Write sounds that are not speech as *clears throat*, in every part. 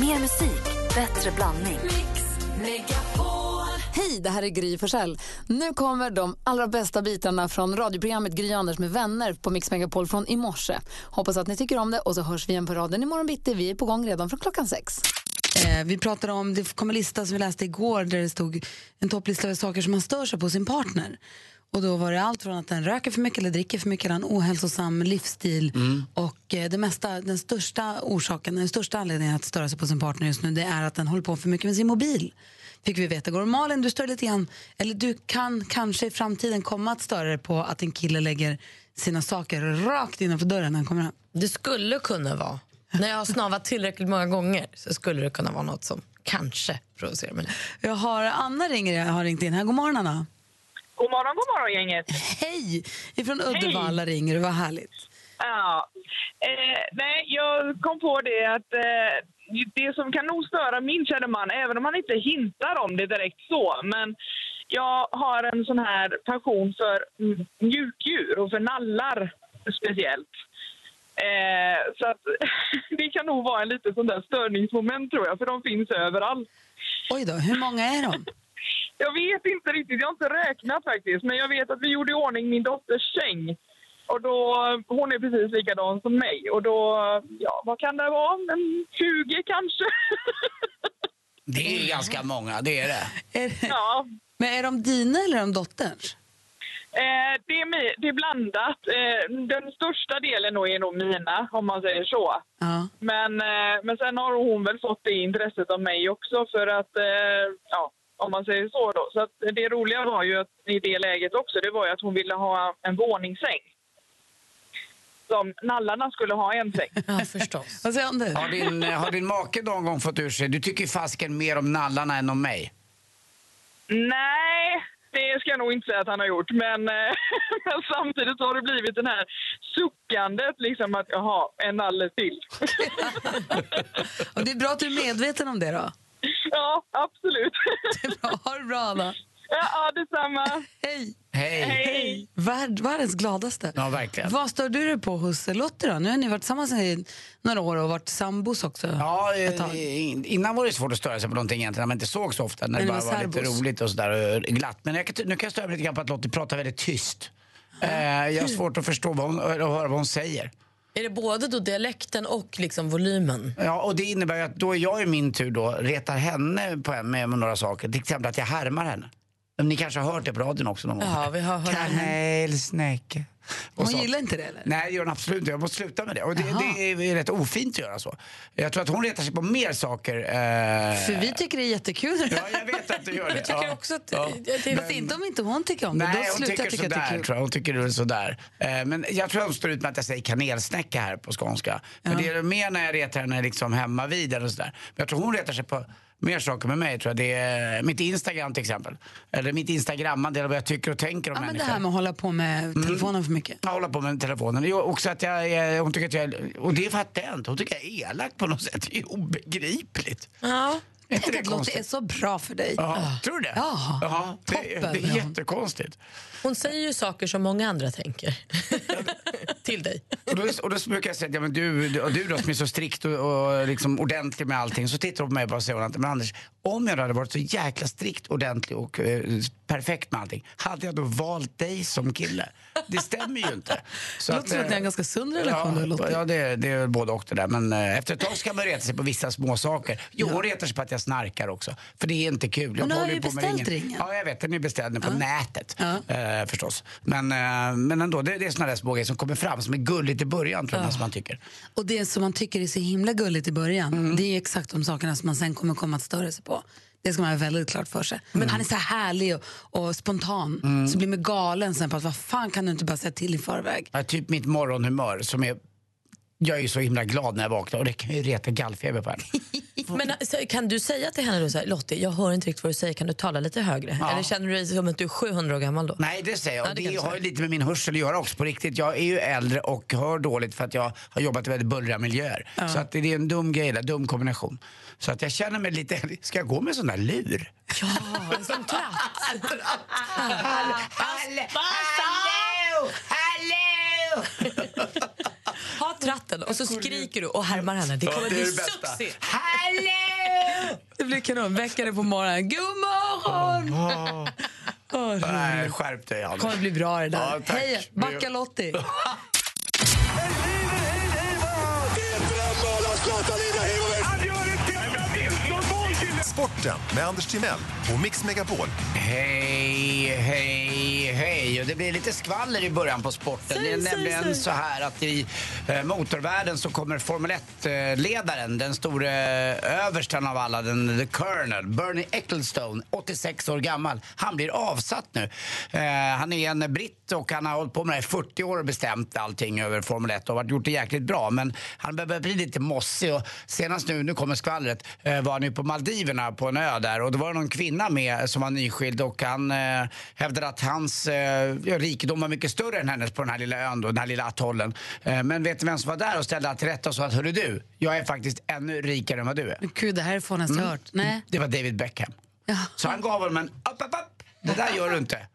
Mer musik, bättre blandning. Hej, det här är Gry Forssell. Nu kommer de allra bästa bitarna från radioprogrammet Gry Anders med vänner på Mix Megapol från i morse. Hoppas att ni tycker om det och så hörs vi igen på raden imorgon bitti. Vi är på gång redan från klockan sex. Eh, vi pratade om, det kom en lista som vi läste igår där det stod en topplista över saker som man stör sig på sin partner. Och då var det allt från att den röker för mycket eller dricker för mycket, eller har en ohälsosam livsstil. Och eh, det mesta, den största orsaken, den största anledningen att störa sig på sin partner just nu, det är att den håller på för mycket med sin mobil. Fick vi veta igår. Malin, du stör lite grann, eller du kan kanske i framtiden komma att störa dig på att en kille lägger sina saker rakt innanför dörren när han kommer hem. Det skulle kunna vara. När jag har snavat tillräckligt många gånger så skulle det kunna vara något som kanske provocerar mig. Jag har Anna ringer, jag har ringt in här. God morgon Anna. God morgon, god morgon gänget. Hej! Ifrån Uddevalla ringer du, vad härligt. Ja. Eh, nej, jag kom på det att eh, det som kan nog störa min kära man, även om han inte hintar om det direkt så, men jag har en sån här passion för m- mjukdjur och för nallar speciellt. Eh, så att, *laughs* det kan nog vara en liten sån där störningsmoment tror jag, för de finns överallt. Oj då, hur många är de? Jag vet inte riktigt, jag har inte räknat faktiskt. Men jag vet att vi gjorde i ordning min dotters säng. Och då, hon är precis likadan som mig. Och då, ja, vad kan det vara? En 20 kanske? *laughs* Det är ganska många, det är det. Är, det- ja. men är de dina eller är de dotterns? Eh, det, är mi- det är blandat. Eh, den största delen nog är nog mina, om man säger så. Ja. Men, eh, men sen har hon väl fått det intresset av mig också för att, eh, ja, om man säger så då. Så att det roliga var ju att, i det läget också, det var ju att hon ville ha en våningssäng. Som nallarna skulle ha en säng. Ja, förstås. Vad säger om du? Har din, eh, har din make någon gång fått ur sig, du tycker fasken mer om nallarna än om mig? Nej, det ska jag nog inte säga att han har gjort. Men, eh, *laughs* men samtidigt har det blivit den här suckandet liksom att jaha, en nalle till. Och det är bra att du är medveten om det då. ja, absolut. *laughs* Det är bra. Ha det bra Anna. ja, ja, detsamma. Hej! Hej! Hej. Värld, världens gladaste. Ja, verkligen. Vad stör du dig på hos Lottie då? Nu har ni varit tillsammans i några år och varit sambos också. Ja, eh, tag. in- innan var det svårt att störa sig på någonting egentligen, när man inte såg så ofta, när Men det det bara var var lite serbos. roligt och sådär och glatt. Men jag kan, ty- nu kan jag störa mig lite grann på att Lottie pratar väldigt tyst. Eh, jag har svårt att förstå vad hon, och höra vad hon säger. *laughs* Är det både då dialekten och liksom volymen? Ja, och det innebär ju att då är jag i min tur då retar henne på, med några saker. Till exempel att jag härmar henne. Ni kanske har hört det på radion också någon gång? Ja, vi har hört Kanelsnäcke. Och Hon sånt. gillar inte det eller? Nej, det gör hon absolut inte. Jag måste sluta med det. Och det, Jaha. det är rätt ofint att göra så. Jag tror att hon retar sig på mer saker. Eh... För vi tycker det är jättekul. Ja, *laughs* jag vet att du gör det. Jag tycker ja. också att... Ja. Jag, det, Fast inte om inte hon tycker om det. Nej, då slutar hon tycker jag tycka att det är sådär. kul. Tror jag. Hon tycker det är sådär. Eh, men jag tror hon står ut med att jag säger kanelsnäcka här på skånska. Men det är mer när jag retar henne liksom hemma vid eller sådär. Men jag tror hon retar sig på mer saker med mig. Tror jag. Det är mitt Instagram till exempel. Eller mitt instagrammande eller vad jag tycker och tänker om Ja, men det människor. Mm. här med att hålla på med telefonen för mycket. Jag håller på med telefonen. Det är också att jag, är- hon tycker att jag är- Och det fattar jag inte. Hon tycker jag är elak på något sätt. Det är obegripligt. ja. Är inte Tänk det att Lottie är konstigt? så bra för dig. Ja, tror du det? Ah. Ja, det, det toppen. är jättekonstigt. Hon säger ju saker som många andra *laughs* tänker. Till dig. Och då, och då brukar jag säga att ja, men du, och du då som är så strikt och, och liksom ordentlig med allting. Så tittar hon på mig och bara säger hon att men Anders, om jag då hade varit så jäkla strikt, ordentlig och eh, perfekt med allting. Hade jag då valt dig som kille? Det stämmer ju inte. Så eh, Låter som att ni har en ganska sund relation då, Ja, Lottie. ja det, det är både och det där. Men eh, efter ett tag ska man reta sig på vissa små saker. Jo, hon retar sig på att jag snarkar också. För det är inte kul. Jag Hon har håller ju på med beställt ringen. Ja, jag vet. Den är beställd nu på nätet eh, förstås. Men, eh, men ändå, det, det är sådana där små grejer som kommer fram som är gulligt i början tror jag som man tycker. Och det som man tycker är så himla gulligt i början, Mm. det är ju exakt de sakerna som man sen kommer komma att störa sig på. Det ska man ha väldigt klart för sig. Mm. Men han är så härlig och, och spontan, så blir man galen sen på att vad fan kan du inte bara säga till i förväg? Ja, typ mitt morgonhumör som är... Jag är ju så himla glad när jag vaknar och det kan ju reta gallfeber på henne. Men alltså, kan du säga till henne då så här, Lottie, jag hör inte riktigt vad du säger, kan du tala lite högre? Ja. Eller känner du dig som att du är 700 år gammal då? Nej, det säger jag. Ja, det det kan du har ju säga. lite med min hörsel att göra också på riktigt. Jag är ju äldre och hör dåligt för att jag har jobbat i väldigt bullriga miljöer. Så att det är en dum grej, där, dum kombination. Så att jag känner mig lite... *laughs* Ska jag gå med sån där lur? Ja, en sån katt. Hall, hall, hallå! Hallå! Ha upp tratten och så skriker du och härmar henne. Det kommer bli succé! Hallå! Det blir kanon. Väcka dig på morgonen. God morgon! Åh, roligt. Nej, skärp dig Anders. Det kommer bli bra det där. Ja, tack. Hej, backa Lottie. Sporten med Anders Timell och Mix Megapol. Hej, hej, hej. Och det blir lite skvaller i början på sporten. det är nämligen så här att i eh, motorvärlden så kommer Formel 1-ledaren, den store eh, översten av alla, den, the Colonel, Bernie Ecclestone, 86 år gammal. Han blir avsatt nu. Eh, han är en britt och han har hållit på med det här i 40 år och bestämt allting över Formel 1 och har gjort det jäkligt bra. Men han börjar bli lite mossig och senast nu, nu kommer skvallret, eh, var han ju på Maldiverna på en ö där och då var det någon kvinna med som var nyskild och han eh, hävdade att hans eh, rikedom var mycket större än hennes på den här lilla ön då, den här lilla atollen. Eh, men vet du vem som var där och ställde allt till rätta och sa att hörru du, jag är faktiskt ännu rikare än vad du är. Gud, det här är fånigast Mm. jag hört. Nej. Det var David Beckham. Så han gav honom en upp, upp, upp. Det där gör du inte. Eh,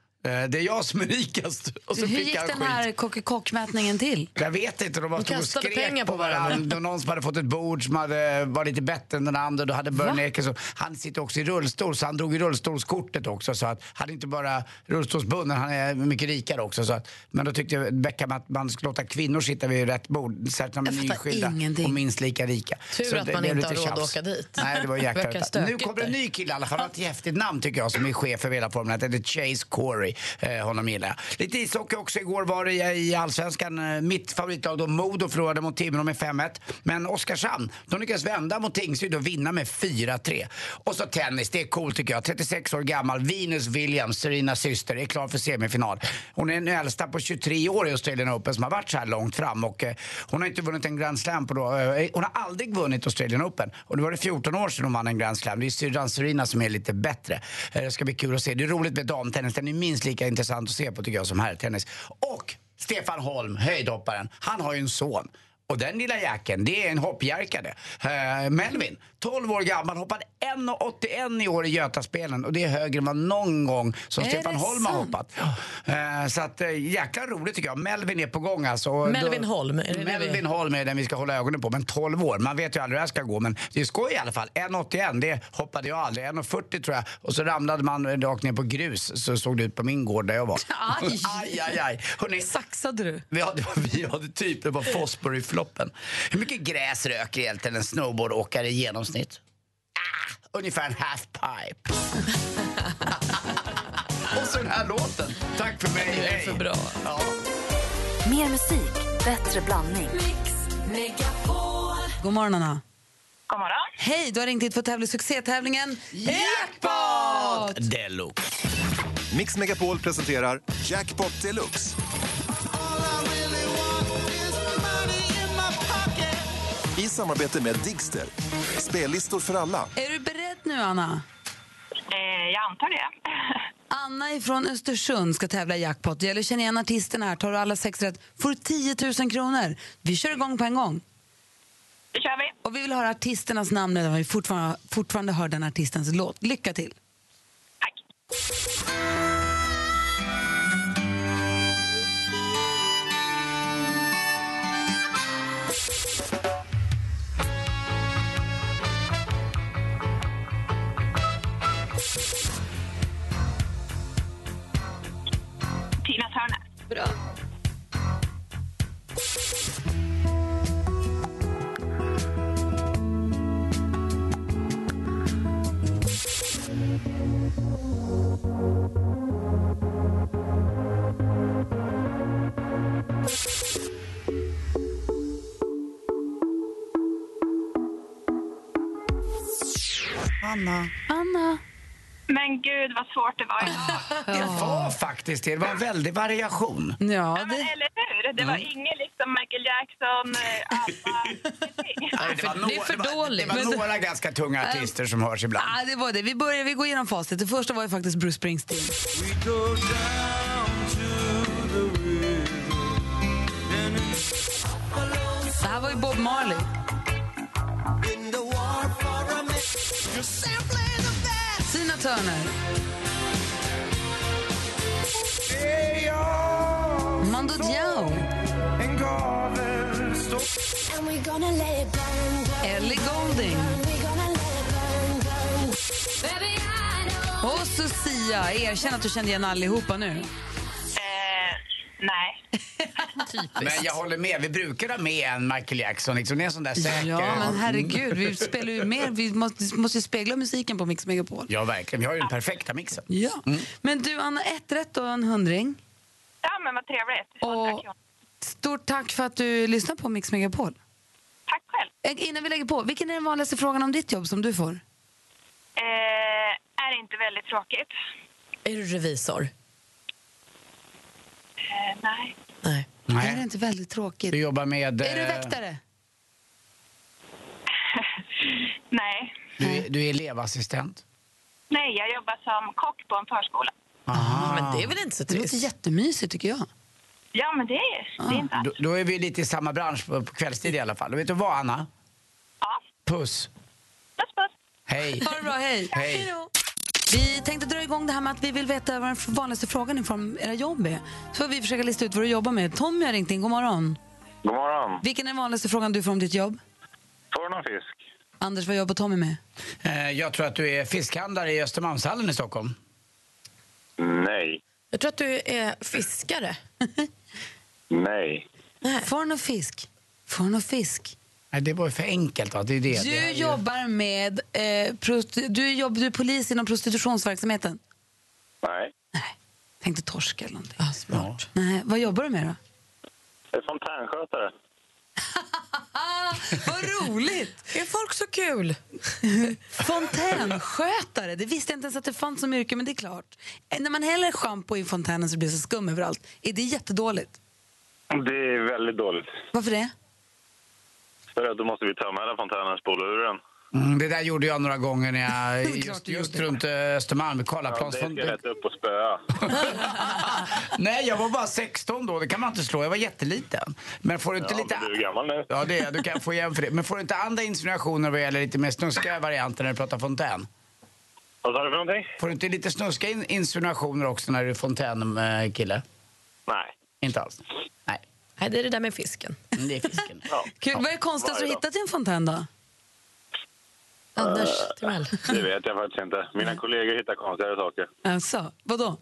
Det är jag som är rikast. Och så Hur fick gick han den skit. här kock-kock-mätningen till? Jag vet inte, de bara stod och kastade skrek pengar på på varandra. varandra. Någon som hade fått ett bord som hade var lite bättre än den andra. Då hade Bernie Ecclestone, han sitter också i rullstol så han drog i rullstolskortet också. Så att han är inte bara rullstolsbunden, han är mycket rikare också. Så att, men då tyckte Beckham att man skulle låta kvinnor sitta vid rätt bord. Särskilt när de är Jag fattar nyskilda ingenting. och minst lika rika. Tur Så att man blev inte lite har råd att tjafs. åka dit. *laughs* Nej, det var jäkla Verkar väntat. Nu stökigt kommer en där. ny kille i alla fall. Han har ett häftigt namn tycker jag som är chef för hela Formel 1. Det är Chase Corey. Eh, honom gillar jag. Lite ishockey också. Igår var det i- i Allsvenskan. eh, Mitt favoritlag då, Modo, förlorade mot Timrå med 5-1. Men Oskarshamn, de lyckades vända mot Tingsryd och vinna med 4-3. Och så tennis, det är coolt tycker jag. 36 år gammal, Venus Williams, Serenas syster, är klar för semifinal. Hon är den äldsta på 23 år i Australian Open som har varit så här långt fram. Och, eh, hon har inte vunnit en Grand Slam på då. eh, Hon har aldrig vunnit Australian Open. Och det var det 14 år sedan hon vann en Grand Slam. Det är syrran Serena som är lite bättre. Eh, Det ska bli kul att se. Det är roligt med damtennis. Den är minst lika intressant att se på tycker jag som herrtennis. Och Stefan Holm, höjdhopparen, han har ju en son. Och den lilla jäkeln, det är en hoppjärkare. Uh, Melvin, 12 år gammal, hoppade 1,81 i år i Götaspelen. Och det är högre än vad någon gång som Är Stefan det Holm har sant? hoppat. Eh, så att, uh, jäkla roligt tycker jag. Melvin är på gång alltså. Och Melvin Holm, är det det vi- Melvin Holm är den vi ska hålla ögonen på. Men 12 år, man vet ju aldrig hur det här ska gå. Men det är skoj i alla fall. 1,81, det hoppade jag aldrig. 1,40 tror jag. Och så ramlade man rakt ner på grus. Så såg det ut på min gård där *laughs* jag var. Aj. aj, aj, aj. Hörrni, Saxade du? vi hade, vi hade typ, det var fosfor i floppen. Hur mycket gräs röker egentligen en snowboardåkare i genomsnitt? Ah, ungefär en halfpipe. *laughs* Och så den här låten. Tack för mig, Det är hej. för bra. Ja. Mer musik, bättre blandning. God morgon, Anna. God morgon. Hej, du har ringt hit för att tävla i succétävlingen Jackpot deluxe. Mix Megapol presenterar Jackpot Deluxe. I samarbete med Digster. Spellistor för alla. Är du beredd nu, Anna? Eh, jag antar det. Anna från Östersund ska tävla i jackpot. Det gäller att känna igen artisterna här. Tar du alla sex rätt får du 10 000 kronor. Vi kör igång på en gång. Det kör vi. Och vi vill höra artisternas namn när vi fortfarande, fortfarande hör den artistens låt. Lycka till! Tack. Tina Turner. Anna. Anna. Men gud vad svårt det var idag. Det var faktiskt det. Det var en väldig variation. Ja, Ja, men det, Mm. eller hur? Det var ingen liksom Michael Jackson, eh, *laughs* ABBA, ingenting. för- det är för några- dåligt. Det var, det var Men- några ganska tunga artister som hörs ibland. ah, det var det. Vi börjar, vi går igenom facit. Det första var ju faktiskt Bruce Springsteen. Det här var ju Bob Marley. Tina Turner. Mando Diao. Lucia, erkänn att du kände igen allihopa nu. Eh, nej. Men jag håller med, vi brukar ha med en Michael Jackson. Liksom. Det är en sån där säker... Ja, men herregud, vi spelar ju mer. Vi måste, måste ju spegla musiken på Mix Megapol. Ja, verkligen. Vi har ju den perfekta mixen. Ja. Men du, Anna, ett rätt och en hundring. Ja, men vad trevligt. Hundra Och kronor. stort tack för att du lyssnar på Mix Megapol. Tack själv. Eh, Innan vi lägger på, vilken är den vanligaste frågan om ditt jobb som du får? Eh, är det inte väldigt tråkigt? Är du revisor? Eh, nej. Nej. Är det inte väldigt tråkigt? Du jobbar med... Är du eh, väktare? nej. eh, Du, är- du är elevassistent. Nej, jag jobbar som kock på en förskola. Ja, Ah, men det är väl inte så Det låter trist? jättemysigt tycker jag. Ja, men det är, Ah. det är inte alls. Då, då är vi lite i samma bransch på, på kvällstid i alla fall. Och vet du vad, Anna? Ja. Puss. Puss, puss. Hej. Ha det bra, hej. Hej. då. Vi tänkte dra igång det här med att vi vill veta vad den vanligaste frågan från era jobb är. Så får vi försöka lista ut vad du jobbar med. Tommy har ringt in, god morgon. God morgon. Vilken är den vanligaste frågan du får om ditt jobb? Får du någon fisk? Anders, vad jobbar Tommy med? Eh, Jag tror att du är fiskhandlare i Östermalmshallen i Stockholm. Nej. Jag tror att du är fiskare. Nej. Får han någon fisk? Får han någon fisk? Nej, det var ju för enkelt. Va? Det är det. det här Du är ju- jobbar med... Eh, prosti- du, jobb, du är polis inom prostitutionsverksamheten? Nej. Nej, tänkte torsk eller någonting. Ah, smart. Nej, vad jobbar du med *laughs* då? Jag är fontänskötare. Vad roligt! Är folk så kul? Fontänskötare, det visste jag inte ens att det fanns som yrke, men det är klart. Eh, När man häller schampo i fontänen så blir det så skum överallt. Är det jättedåligt? Det är väldigt dåligt. Varför det? För att då måste vi tömma hela fontänen och spola ur den. Mm, det där gjorde jag några gånger när *laughs* jag, klart just, du just gjorde. runt eh, Östermalm. Ja, det Karlaplans... ska jag rätt upp och spöa. *laughs* Nej, jag var bara 16 då. Det kan man inte slå. Jag var jätteliten. Men får du inte Ja, lite... men du är gammal nu. *laughs* Ja, det är jag. Du kan få igen för det. Men får du inte andra insinuationer vad gäller lite mer snuskiga varianter när du pratar fontän? Vad sa du för någonting? Får du inte lite snuskiga in- insinuationer också när du är fontänkille? Nej. Inte alls? Nej, Nej, det är det där med fisken. Mm, det är *laughs* fisken. Ja, Kul. Vad är konstigast du varje dag. hittat i en fontän då? Anders Timell. *laughs* det vet jag faktiskt inte. Mina kollegor hittar konstigare saker. Alltså, vadå?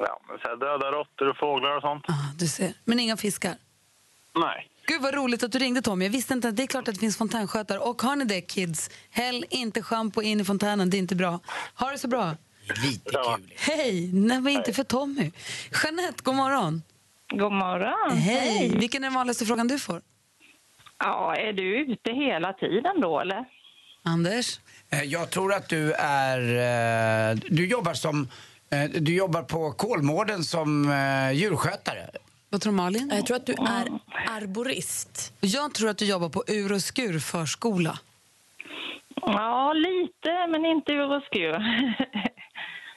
Ja, men så här döda råttor och fåglar och sånt. Ah, du ser. Men inga fiskar? Nej. Gud vad roligt att du ringde Tommy. Jag visste inte att det är klart att det finns fontänskötare. Och har ni det kids, häll inte schampo in i fontänen, det är inte bra. Ha det så bra. Lite kul. Hej! Nej, men inte för Tommy. Jeanette, god morgon. God morgon. Hej! Vilken är den vanligaste frågan du får? Ja, är du ute hela tiden då eller? Anders? Eh, Jag tror att du är... eh, Du jobbar som... eh, Du jobbar på Kolmården som eh, djurskötare. Vad tror Malin? Jag tror att du är arborist. Jag tror att du jobbar på ur och skur förskola. Ja, lite, men inte ur och skur.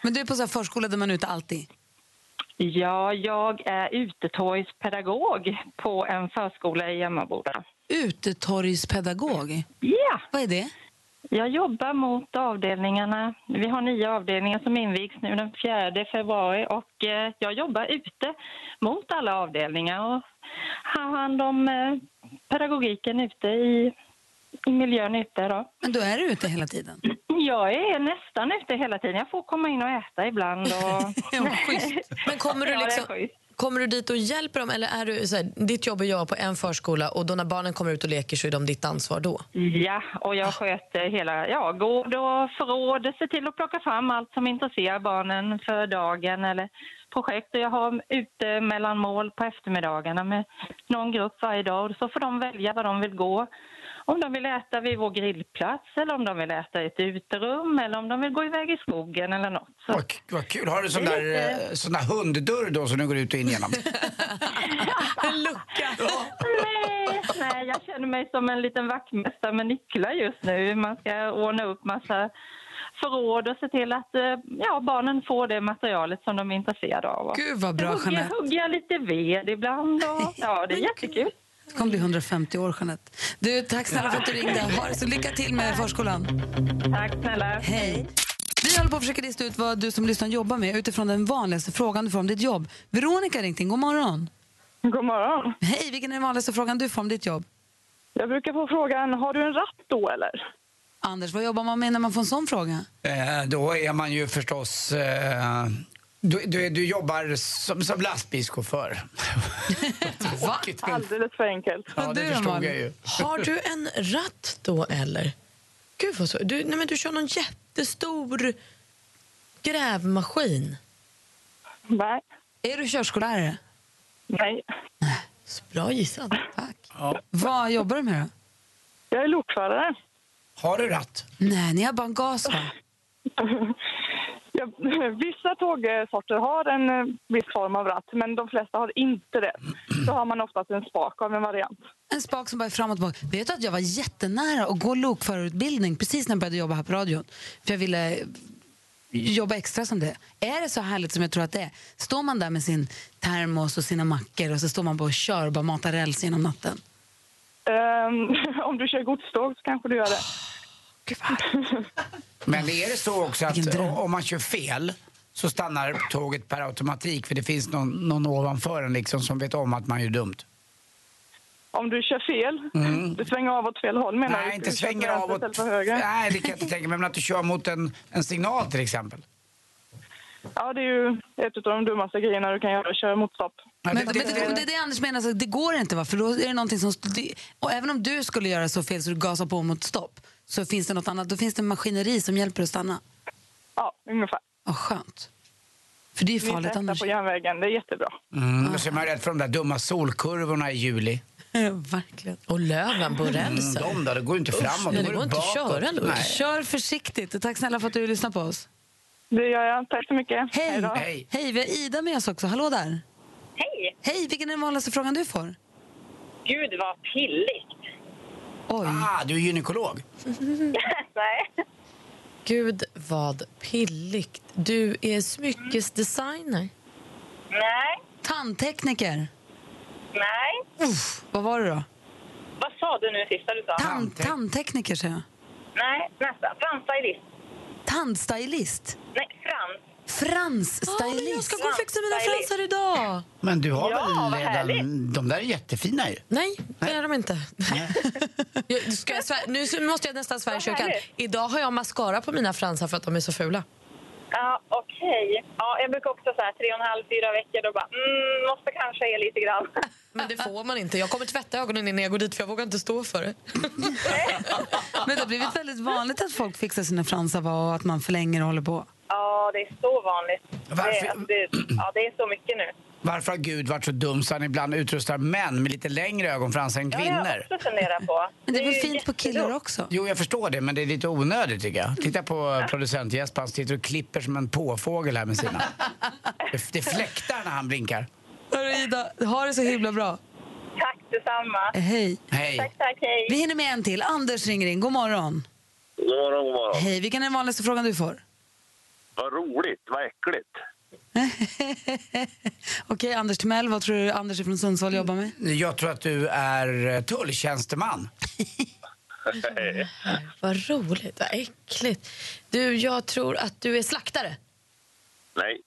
Men du är på så här förskola där man är ute alltid. *laughs* ja, jag är utetorgspedagog på en förskola i Emmaboda. Utetorgspedagog? Ja, Vad är det? jag jobbar mot avdelningarna. Vi har nya avdelningar som invigs nu den 4 februari och eh, jag jobbar ute mot alla avdelningar och har hand om eh, pedagogiken ute i, i miljön ute. Då. Men du är ute hela *laughs* tiden. Jag är nästan ute hela tiden. Jag får komma in och äta ibland. Och... *laughs* Ja, schysst. Men *laughs* kommer du, Ja, det är liksom, schysst. kommer du dit och hjälper dem? Eller är du, så här, ditt jobb är jag på en förskola och då när barnen kommer ut och leker så är de ditt ansvar då? Ja, och jag sköter hela ja, gård och förråd. Ser till att plocka fram allt som intresserar barnen för dagen eller projekt. Och jag har ute mellanmål på eftermiddagarna med någon grupp varje dag. Och Så får de välja var de vill gå. Om de vill äta vid vår grillplats eller om de vill äta i ett uterum eller om de vill gå iväg i skogen eller något. Så Vad, vad kul. Har du sån där, eh, sån där hunddörr då som du går ut och *laughs* in genom? En lucka! Nej, nej, jag känner mig som en liten vaktmästare med nycklar just nu. Man ska ordna upp massa förråd och se till att eh, ja, barnen får det materialet som de är intresserade av. Gud vad Jag bra hugger, Jeanette. hugger lite ved *laughs* ibland. Och, ja, det är jättekul. Du kommer bli 150 år Jeanette. Du, tack snälla för att du ringde. Ha det så lycka till med förskolan. Tack snälla. Hej. Vi håller på att försöka lista ut vad du som lyssnar jobbar med utifrån den vanligaste frågan du får om ditt jobb. Veronica har ringt in. God morgon. God morgon. Hej, vilken är den vanligaste frågan du får om ditt jobb? Jag brukar få frågan, har du en ratt då eller? Anders, vad jobbar man med när man får en sån fråga? Eh, Då är man ju förstås... eh, Du, du, du jobbar som, *laughs* som lastbilschaufför. Va? Alldeles för enkelt. Ja, det Du då, förstod Malin? jag ju. Har du en ratt då eller? Gud vad så. Du, nej men du kör någon jättestor grävmaskin. Nej. Är du körskollärare? Nej. Så bra gissat. Vad jobbar du med då? Jag är lokförare. Har du ratt? Nej, ni har bara en gas va? *laughs* Jag, vissa tågsorter har en eh, viss form av ratt, men de flesta har inte det. Då har man oftast en spak av en variant. En spak som bara är fram och tillbaka. Vet du att jag var jättenära att gå lokförarutbildning precis när jag började jobba här på radion? För jag ville jobba extra som det. Är det så härligt som jag tror att det är? Står man där med sin termos och sina mackor och så står man bara och kör och bara matar räls genom natten. Ehm, *laughs* om du kör godståg så kanske du gör det. Men är det så också att Vilken dröm. om man kör fel så stannar tåget per automatik för det finns någon, någon ovanför en liksom som vet om att man gör dumt? Om du kör fel, du svänger av åt fel håll menar Mm. Nej, du? inte Du kör svänger till av vänster åt... istället för höger. Nej, det kan jag inte tänka mig. Men att du kör mot en, en signal till exempel. Ja, det är ju ett av de dummaste grejerna du kan göra, köra motstopp. Ja, Men, det- men det, och det är det Anders menar, så det går inte va? För då är det någonting som... det- Och även om du skulle göra så fel så du gasar på mot stopp så finns det något annat. Då finns det maskineri som hjälper dig att stanna. Ja, ungefär. Vad skönt. För det är ju Vi farligt testar annars. *laughs* på järnvägen, det är jättebra. Mm, och så är man rädd för de där dumma solkurvorna i juli. Verkligen. Och löven på Mm, rälsen. de där, det går ju inte framåt. nej, det går inte att bakåt. köra, Louise. Nej. Kör försiktigt och tack snälla för att du lyssnar på oss. Det gör jag. Tack så mycket. Hej! då. Hej. Hej, vi har Ida med oss också. Hallå där! Hej! Hej, vilken är den vanligaste frågan du får? Gud vad pilligt! Oj. Ah, du är gynekolog. Nej. Gud vad pilligt. Du är smyckesdesigner. Nej. Tandtekniker. Nej. Uff, vad var det då? Vad sa du nu sista du sa? Tand, Tandtek- tandtekniker, säger jag. Nej, nästan. Fransstylist. Tandstylist. Nej, frans. Ja, Ah, men jag Fransstylist. ska gå och fixa mina fransar idag. Men du har Ja, vad väl redan... härligt. De där är *laughs* jättefina ju. Nej, det är de inte. *laughs* Jag, ska jag svär, nu så- måste jag nästan svära i Vad kyrkan. härligt. Idag har jag mascara på mina fransar för att de är så fula. Ja, okej. Ja, jag brukar också så här tre och en halv, fyra veckor då bara mm, måste kanske ge lite grann. *laughs* Men *laughs* det får man inte. Jag kommer tvätta ögonen innan jag går dit för jag vågar inte stå för det. Men det har blivit väldigt vanligt att folk fixar sina fransar va, och att man förlänger och håller på. Ja, det är så vanligt. Varför- Det, alltså, det, ja, det är så mycket nu. Varför har Gud varit så dum så han ibland utrustar män med lite längre ögonfransar än Ja, Det har jag kvinnor? också funderat på. Men det är väl ju fint på killar jättedumt. också? Jo, jag förstår det, men det är lite onödigt tycker jag. Titta på producent Jesper, han sitter och klipper som en påfågel här *laughs* med sina. Det- Det fläktar när han blinkar. Hörru Ida, ha det så himla bra. Tack detsamma. Hej. Hej. Tack, tack, hej. Vi hinner med en till. Anders ringer in. God morgon. God morgon, god morgon. Hej, vilken är den vanligaste frågan du får? *laughs* Vad roligt, vad äckligt. Okej, Anders Timell, vad tror du Anders från Sundsvall jobbar med? Mm, Jag tror att du är eh, tulltjänsteman. Vad roligt, vad äckligt. Du, jag tror att du är slaktare. Nej,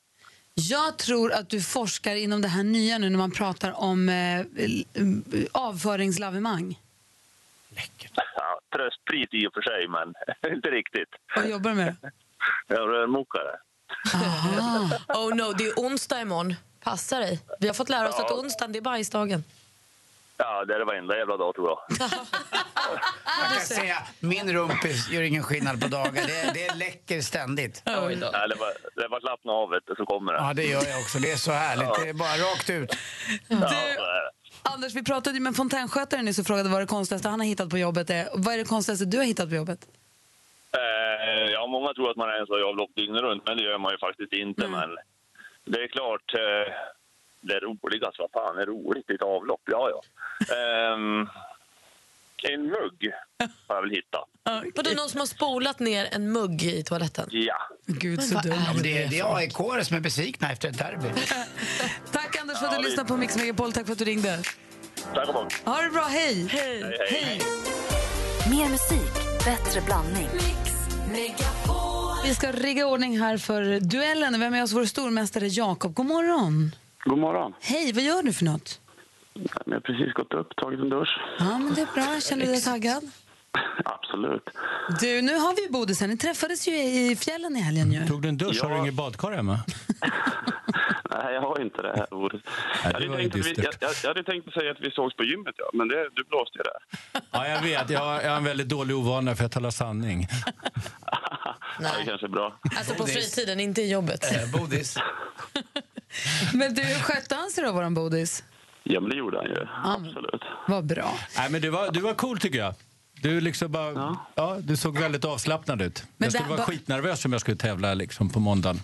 Jag tror att du forskar inom det här nya nu när man pratar om eh, l- m- avföringslavemang ja, tröstpris i och för sig, men *laughs* inte riktigt. och jobbar med det. Jag är rörmokare. Oh no, det är onsdag imorgon. Passa dig. Vi har fått lära oss Ja. att onsdagen det är bajsdagen. Ja, det är det varenda jävla dag tror jag. Jag kan säga, min rumpis gör ingen skillnad på dagar. Det, det läcker ständigt. Nej, det var, det var slappna av, vet du, så kommer det. Ja, det gör jag också. Det är så härligt. Det är bara rakt ut. Du, Ja, så är det. Anders, vi pratade ju med en fontänskötare nyss och frågade vad det konstigaste han har hittat på jobbet är. Vad är det konstigaste du har hittat på jobbet? Eh, ja, många tror att man är en så avlopp dygnet runt, men det gör man ju faktiskt inte. Men det är klart, eh, det är roligast, vad fan är roligt i ett avlopp? Ja, ja. Ehm, en mugg har jag väl hittat. Vadå, någon som har spolat ner en mugg i toaletten? Ja. Gud, så vad dumt. Ja, men det, det är AIK som är besvikna efter ett derby. Tack Anders för att Ja, du det- lyssnade på Mix Megapol. Tack för att du ringde. Tack och bock. Ha det bra, hej! Hej, hej. Mer musik, bättre blandning. Vi ska rigga ordning här för duellen. Vem är med oss? Vår stormästare Jakob. God morgon! God morgon. Hej, vad gör du för något? Jag har precis gått upp, tagit en dusch. Ja, men det är bra. Känner du dig taggad? *laughs* Absolut. *laughs* Du, nu har vi ju Bodisen. Ni träffades ju i fjällen i helgen Mm, ju. Tog du en dusch? Har du ingen badkar hemma? Nej, jag har inte det här ordet. jag, hade var ju tänkt att vi, jag, dystert. jag, jag hade tänkt att säga att vi sågs på gymmet, ja. men det, du blåste ju där. Ja, jag vet. Jag har, jag har en väldigt dålig ovana för att tala sanning. Ja, Eh. det kanske är bra. Alltså på fritiden, inte i jobbet. Bodis. Men du, skötte han sig då, våran Bodis? Ja, men det gjorde han ju. Absolut. Vad bra. Nej, men du var, du var cool tycker jag. Du, liksom bara, ja. du såg väldigt avslappnad ut. jag skulle det- vara ba- skitnervös om jag skulle tävla liksom, på måndagen.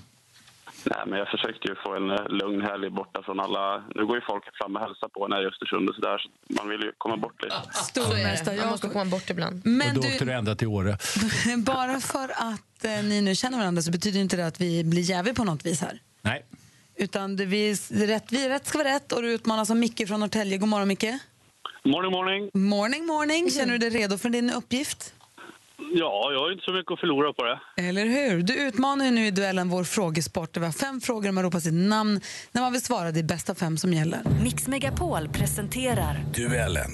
Nej, men jag försökte ju få en eh, lugn helg borta från alla... Nu går ju folk fram och hälsar på en här i Östersund och sådär, så man vill ju komma bort lite. Stormästare Man måste komma bort ibland. Men och då du- åkte du ända till Åre. *laughs* Bara för att eh, ni nu känner varandra så betyder inte det att vi blir jäviga på något vis här. Nej. Utan det, vi, är rätt, vi är rätt ska vara rätt och du utmanas av Micke från Norrtälje. God morgon Micke. Morning, morning! Morning, morning. Känner du dig redo för din uppgift? Ja, jag har ju inte så mycket att förlora på det. Eller hur? Du utmanar ju nu i duellen vår frågesport. där Vi har fem frågor där man ropar sitt namn när man vill svara. Det är bästa fem som gäller. Mix Megapol presenterar Duellen.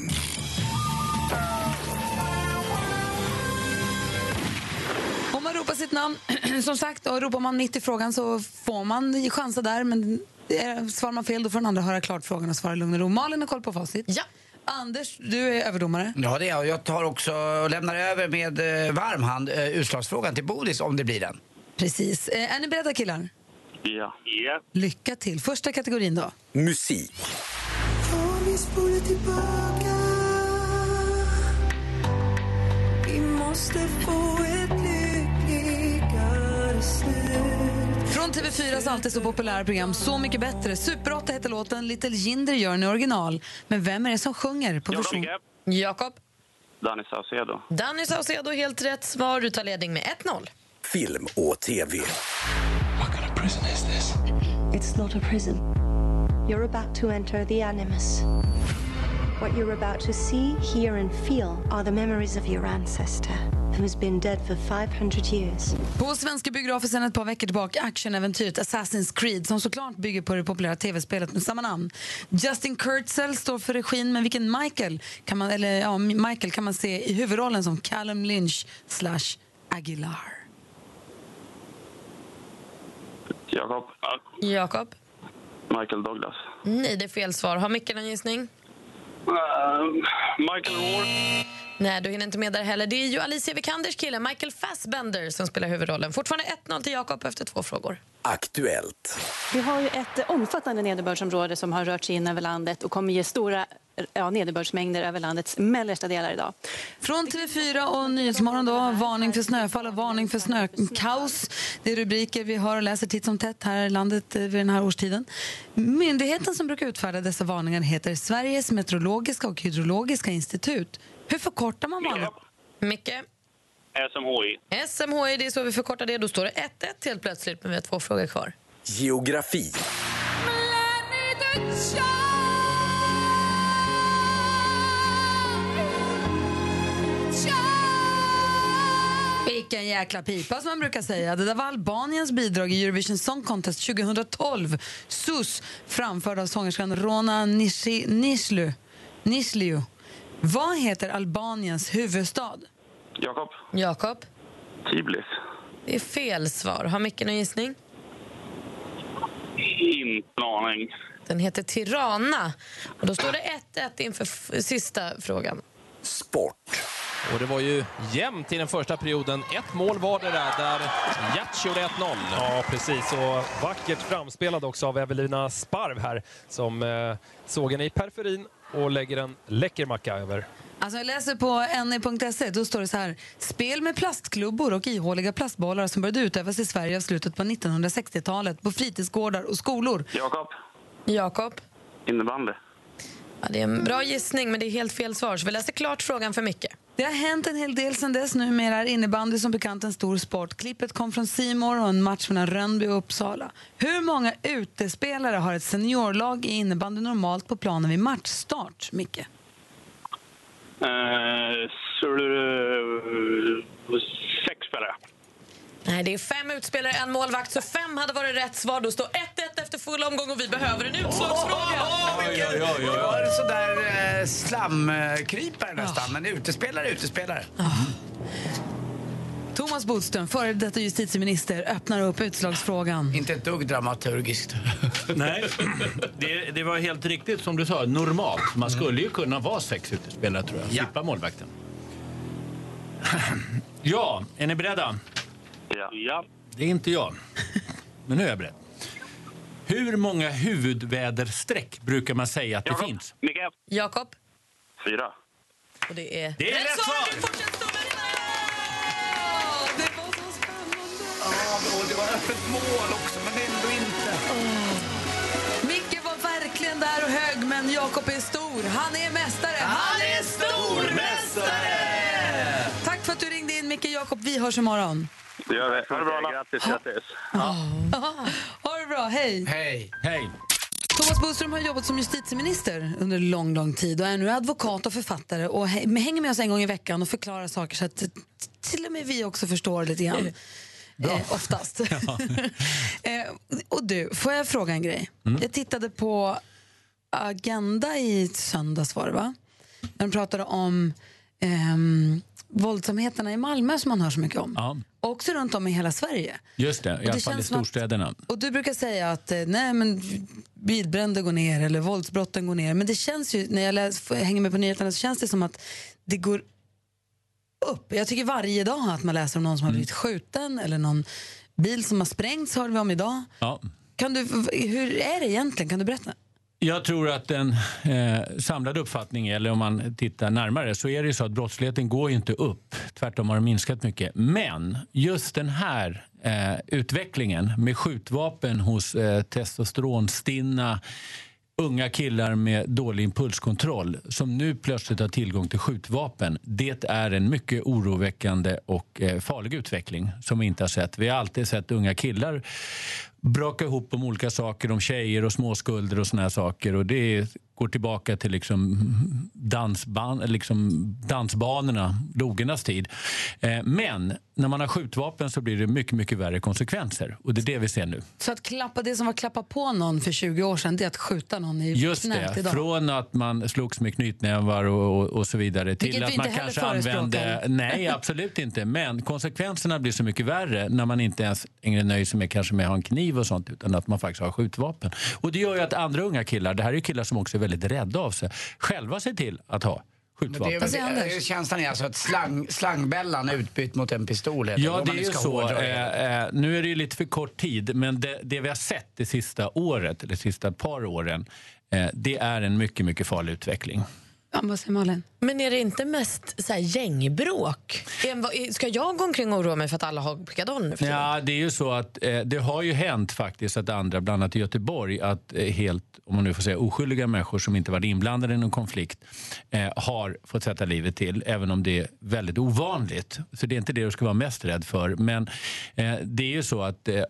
Om man ropar sitt namn, *clears throat* som sagt, och ropar man mitt i frågan så får man chansa där. Men eh, svarar man fel då får den andra höra klart frågan och svara i lugn och ro. Malin har koll på facit. Ja. Anders, du är överdomare. Ja, det är jag. Jag tar också och lämnar över med eh, varm hand eh, utslagsfrågan till Bodis om det blir den. Precis. Eh, Är ni beredda killar? Ja. Lycka till. Första kategorin då. Musik. Om vi spolar tillbaka Vi måste få ett lyckligare slut Från TV4s alltid så populära program Så mycket bättre. Super 8 heter låten, Little Jinder gör den i original. Men vem är det som sjunger på version? Jakob. Danny Saucedo. Danny Saucedo, helt rätt svar. Du tar ledning med 1-0. Film och tv. prison is this? It's not a prison. You're about to enter the Animus. What you're about to see, hear, and feel are the memories of your ancestor, who's been dead for 500 years. På svenska biografer sedan ett par veckor tillbaka actionäventyret Assassin's Creed som såklart bygger på det populära tv-spelet med samma namn. Justin Kurtzel står för regin, men vilken Michael kan man, eller, ja, Michael kan man se i huvudrollen som Callum Lynch slash Aguilar? Jakob. Jakob. Michael Douglas. Nej, det är fel svar. Har Micke någon gissning? Eh, Michael Moore. Nej, du hinner inte med där heller. Det är ju Alicia Vikanders kille Michael Fassbender som spelar huvudrollen. Fortfarande 1-0 till Jakob efter två frågor. Aktuellt. Vi har ju ett eh, omfattande nederbördsområde som har rört sig in över landet och kommer ge stora eh, ja, nederbördsmängder över landets mellersta delar idag. Från TV4 och Nyhetsmorgon då, varning för snöfall och varning för snökaos. Det är rubriker vi hör och läser titt som tätt här i landet eh, vid den här årstiden. Myndigheten som brukar utfärda dessa varningar heter Sveriges meteorologiska och hydrologiska institut. Hur förkortar man varningar? Micke? SMHI. SMHI, det är så vi förkortar det. Då står det 1-1 helt plötsligt, men vi har två frågor kvar. Geografi. Vilken jäkla pipa som man brukar säga. Det där var Albaniens bidrag i Eurovision Song Contest 2012. Sus, framförd av sångerskan Rona Nishi, Nishlu. Nishliu. Vad heter Albaniens huvudstad? Jakob. Jakob? Tiblis. Det är fel svar. Har Micke någon gissning? Inte en aning. Den heter Tirana. Och då står det 1-1 inför f- sista frågan. Sport. Och det var ju jämnt i den första perioden. Ett mål var det där, där Gert gjorde 1-0. Ja, precis. Och vackert framspelad också av Evelina Sparv här som eh, såg henne i periferin och lägger en läcker macka över. Alltså jag läser på ne.se, E. då står det så här. Spel med plastklubbor och ihåliga plastbollar som började utövas i Sverige av slutet på 1960-talet på fritidsgårdar och skolor. Jakob. Jakob? Innebandy. Ja, det är en bra gissning, men det är helt fel svar. Så vi läser klart frågan för Micke. Det har hänt en hel del sedan dess. Numera är innebandy som bekant en stor sport. Klippet kom från Simor och en match mellan Rönnby och Uppsala. Hur många utespelare har ett seniorlag i innebandy normalt på planen vid matchstart, Micke? Eh, så, eh, sex spelare. Nej, det är fem utspelare, en målvakt, så fem hade varit rätt svar. Då står 1-1 efter efter full omgång och vi behöver en utslagsfråga. Oj, oj, oj, oj. Var det sådär eh, slamkrypare nästan, men utespelare, utespelare. Thomas Bodström, före detta justitieminister, öppnar upp utslagsfrågan. Inte ett dugg dramaturgiskt. Nej, det, det var helt riktigt som du sa, normalt. Man skulle ju kunna vara sex utespelare tror jag, slippa målvakten. Ja, är ni beredda? Ja. Det är inte jag, men nu är jag beredd. Hur många huvudväderstreck brukar man säga att det finns? Mikael. Jakob. Fyra. Och det är... Det är rätt svar! och det var öppet mål också, men ändå inte. Micke var verkligen där och hög, men Jakob är stor. Han är mästare! Han är stormästare! Tack för att du ringde in, Micke Jakob. Vi hörs imorgon. Det gör vi. Ha det bra. Grattis, grattis. Ha det bra, hej! Hej. Hej. Thomas Bodström har jobbat som justitieminister under lång, lång tid och är nu advokat och författare och hä- hänger med oss en gång i veckan och förklarar saker så att t- till och med vi också förstår lite grann. Eh, oftast. *laughs* eh, och du, får jag fråga en grej? Mm. Jag tittade på Agenda i söndags var det va? När de pratade om ehm, våldsamheterna i Malmö som man hör så mycket om. Ja, Och också runt om i hela Sverige. just det. I alla fall i känns som att- storstäderna. Och du brukar säga att eh, nej, men bilbränder går ner eller våldsbrotten går ner. Men det känns ju, när jag läs, får- hänger med på nyheterna så känns det som att det går upp. Jag tycker varje dag att man läser om någon som Mm. har blivit skjuten eller någon bil som har sprängts hörde vi om idag. Ja. Kan du, hur är det egentligen? Kan du berätta? Jag tror att en eh, samlad uppfattning, eller om man tittar närmare, så är det ju så att brottsligheten går ju inte upp. Tvärtom har den minskat mycket. Men just den här eh, utvecklingen med skjutvapen hos eh, testosteronstinna unga killar med dålig impulskontroll som nu plötsligt har tillgång till skjutvapen. Det är en mycket oroväckande och eh, farlig utveckling som vi inte har sett. Vi har alltid sett unga killar braka ihop om olika saker, om tjejer och småskulder och såna här saker. Och det går tillbaka till liksom dansban, liksom dansbanorna, logernas tid. Eh, Men när man har skjutvapen så blir det mycket, mycket värre konsekvenser. Och det är det vi ser nu. Så att klappa det som var klappa på någon för 20 år sedan, det är att skjuta någon i Just knät det, idag. från att man slogs med knytnävar och, och, och så vidare till Vilket vi att man inte heller kanske förespråkar. använde... Nej, absolut inte. Men konsekvenserna blir så mycket värre när man inte ens längre nöjer sig med kanske med att ha en kniv och sånt utan att man faktiskt har skjutvapen. Och det gör ju att andra unga killar, det här är ju killar som också är väldigt rädda av sig, själva ser till att ha Det är, skjutvapen. väl- det är, känslan är alltså att slang, slangbällan är utbytt mot en pistol. heter Ja, om det man är nu ju ska så. hårdra det. Eh, eh, nu är det ju lite för kort tid, men det, det vi har sett det sista året, eller sista par åren, eh, det är en mycket, mycket farlig utveckling. Ja, vad säger Malin? Men är det inte mest så här, gängbråk? Är- vad- är- Ska jag gå omkring och oroa mig för att alla har pickadoll nu? Ja, det är ju så att eh, det har ju hänt faktiskt att andra, bland annat i Göteborg, att eh, helt, om man nu får säga oskyldiga människor som inte varit inblandade i någon konflikt, eh, har fått sätta livet till, även om det är väldigt ovanligt. Så det är inte det du ska vara mest rädd för. Men eh, det är ju så att eh,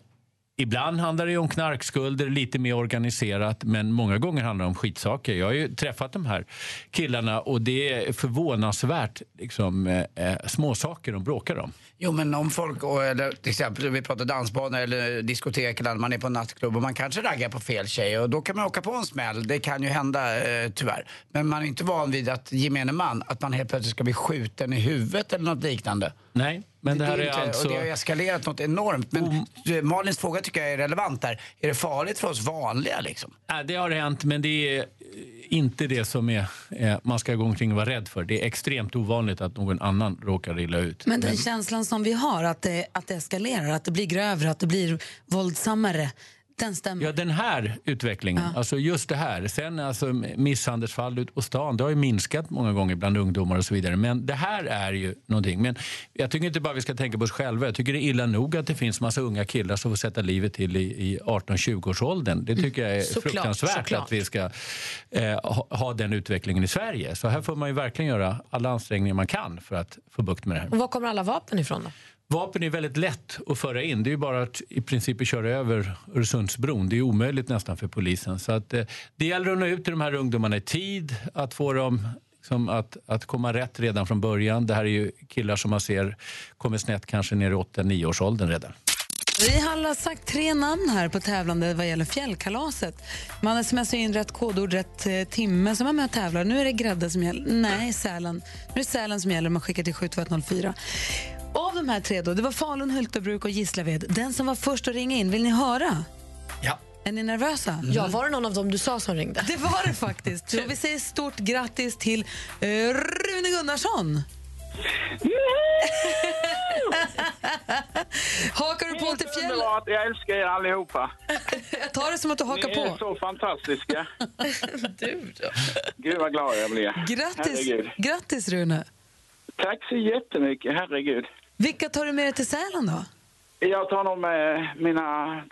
Ibland handlar det ju om knarkskulder, lite mer organiserat, men många gånger handlar det om skitsaker. Jag har ju träffat de här killarna och det är förvånansvärt liksom, eh, eh, småsaker de bråkar om. Jo, men om folk, och- eller till exempel vi pratar dansbanor eller diskotek eller man är på en nattklubb och man kanske raggar på fel tjej och då kan man åka på en smäll. Det kan ju hända eh, tyvärr. Men man är inte van vid att gemene man, att man helt plötsligt ska bli skjuten i huvudet eller något liknande. Nej, men det, här är, inte- alltså... Och det har eskalerat något enormt. Men eh, Malins fråga tycker jag är relevant där. Är det farligt för oss vanliga liksom? Ja, det har hänt, men det är eh, inte det som är, eh, man ska gå omkring och vara rädd för. Det är extremt ovanligt att någon annan råkar illa ut. Men den känslan som vi har, att det, att det eskalerar, att det blir grövre, att det blir våldsammare, den stämmer. Ja, den här utvecklingen, alltså just det här. Sen alltså misshandelsfall ut på stan, det har ju minskat många gånger bland ungdomar och så vidare. Men det här är ju någonting. Men jag tycker inte bara vi ska tänka på oss själva. Jag tycker det är illa nog att det finns massa unga killar som får sätta livet till i, i 18-20-årsåldern. Det tycker jag är Såklart, fruktansvärt såklart. att vi ska eh, ha, ha den utvecklingen i Sverige. Så här får man ju verkligen göra alla ansträngningar man kan för att få bukt med det här. Och var kommer alla vapen ifrån då? Vapen är väldigt lätt att föra in. Det är ju bara att i princip köra över Öresundsbron. Det är omöjligt nästan för polisen. Så att, eh, det gäller att nå ut till de här ungdomarna i tid, att få dem liksom, att, att komma rätt redan från början. Det här är ju killar som man ser kommer snett kanske ner i 8-9 års åldern redan. Vi har alla sagt tre namn här på tävlande vad gäller fjällkalaset. Man smsar in rätt kodord, rätt eh, timme som man är med och tävlar. Nu är det grädde som gäller. Nej, Sälen. Nu är det Sälen som gäller. Man skickar till 72104. Av de här tre då, det var Falun, Hultebruk och Gislaved. Den som var först att ringa in, vill ni höra? Ja. Är ni nervösa? Ja, var det någon av dem du sa som ringde? Det var det faktiskt. Så vi säger stort grattis till eh, Rune Gunnarsson. *laughs* Hakar du på till fjällen? Underbart, jag älskar er allihopa. Jag tar det som att du hakar Ni är på. så fantastiska. Gud vad glad jag blir. Grattis, Herregud. grattis Rune. Tack så jättemycket, herregud. Vilka tar du med dig till Sälen då? Jag tar nog med mina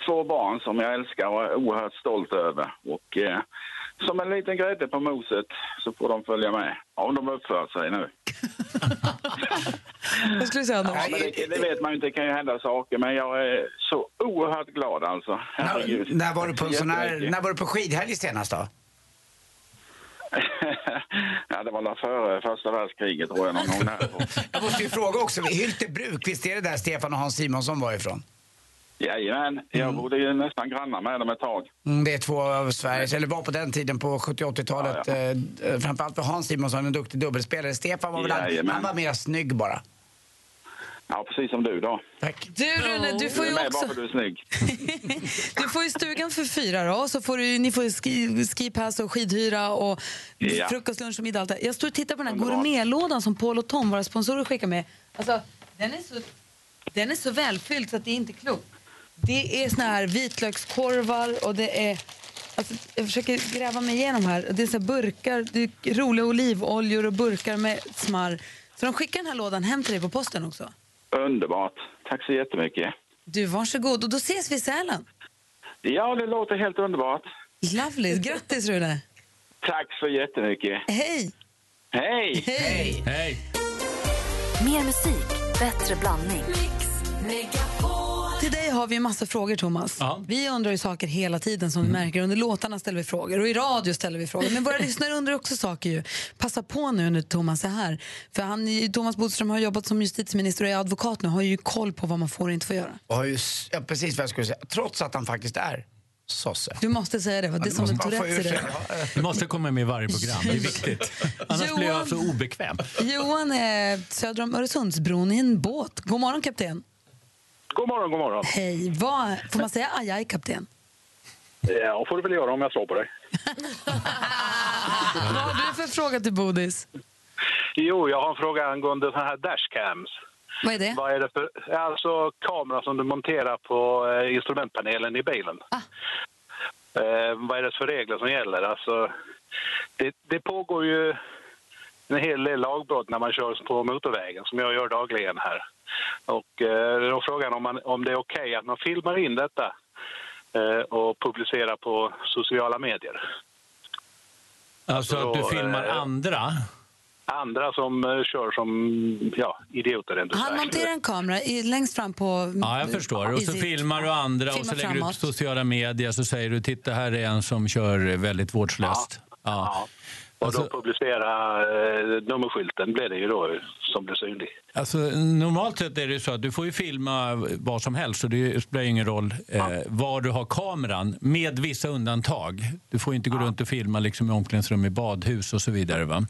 två barn som jag älskar och är oerhört stolt över. Och eh, som en liten grädde på moset så får de följa med. Om de uppför sig nu. Vad skulle du säga Ja, men det, det vet man ju inte, det kan ju hända saker. Men jag är så oerhört glad alltså. Herregud. När, när, var du på en sån här, Jättemycket. när var du på skidhelg senast då? Ja, det var väl före första världskriget tror jag någon gång där. Jag måste ju fråga också, Hyltebruk, visst är det där Stefan och Hans Simonsson var ifrån? Jajamän, *laughs* jag bodde ju nästan grannar med dem ett tag. Mm, det är två av Sveriges, eller var på den tiden på 70 80-talet, Ja, eh, framförallt för Hans Simonsson, en duktig dubbelspelare. Stefan var väl, han, Jajamän. han var mer snygg bara. Ja, precis som du då. Tack. Du Rune, du får är ju med också... bara för du är snygg. *laughs* Du får ju stugan för fyra då, så får du, ni får ju ski, skipass och skidhyra och Ja. frukost, lunch och middag. Allt det. Jag står och tittar på den här gourmetlådan som Paul och Tom, våra sponsorer, skickar med. Alltså, den är så, den är så välfylld så att det är inte klokt. Det är såna här vitlökskorvar och det är... Alltså, jag försöker gräva mig igenom här. Det är så här burkar, det är roliga olivoljor och burkar med smarr. Så de skickar den här lådan hem till dig på posten också. Underbart. Tack så jättemycket. Du, varsågod. Och då ses vi i Sälen. Ja, det låter helt underbart. Lovely. Grattis, Rune. Tack så jättemycket. Hej! Hej! Hej! Hej! Mer musik, bättre blandning. Till dig har vi en massa frågor, Thomas. Vi undrar ju saker hela tiden som du märker. Under låtarna ställer vi frågor och i radio ställer vi frågor. *laughs* Men våra lyssnare undrar också saker ju. Passa på nu när Thomas är här. För han, är ju- Thomas Bodström har jobbat som justitieminister och är advokat nu. Har ju koll på vad man får och inte får göra. Och har ju, s- ja, precis vad jag skulle säga, trots att han faktiskt är sosse. Du måste säga det, va? det är som en Tourettes i det. Du måste komma med i varje program, det är viktigt. Annars blir jag så obekväm. Johan är söder om Öresundsbron i en båt. God morgon, kapten. God morgon, god morgon. Hej. Vad, får man säga ajaj, kapten? Ja, får du väl göra om jag slår på dig. Vad har du för fråga till Bodis? Jo, jag har en fråga angående såna här dashcams. Vad är det? Vad är det för... Alltså kamera som du monterar på eh, instrumentpanelen i bilen. Eh, vad är det för regler som gäller? Alltså, det, det pågår ju en hel del lagbrott när man kör på motorvägen, som jag gör dagligen här. Och eh, då är frågan om, man, om det är okej att man filmar in detta eh, och publicerar på sociala medier. Alltså att du filmar eh, andra. Andra som eh, kör som ja, idioter, rent ut Han sagt. monterar en kamera i, längst fram på... Ja, jag förstår. Och så i- filmar du andra och så Filmar lägger du ut framåt. sociala medier så säger du titta här är en som kör väldigt vårdslöst. Ja. Och Alltså- då publicera eh, nummerskylten blir det ju då som blir synlig. Alltså, normalt sett är det ju så att du får ju filma vad som helst och det spelar ju ingen roll eh, var du har kameran, med vissa undantag. Du får ju inte gå runt och filma liksom, i omklädningsrum i badhus och så vidare. Va?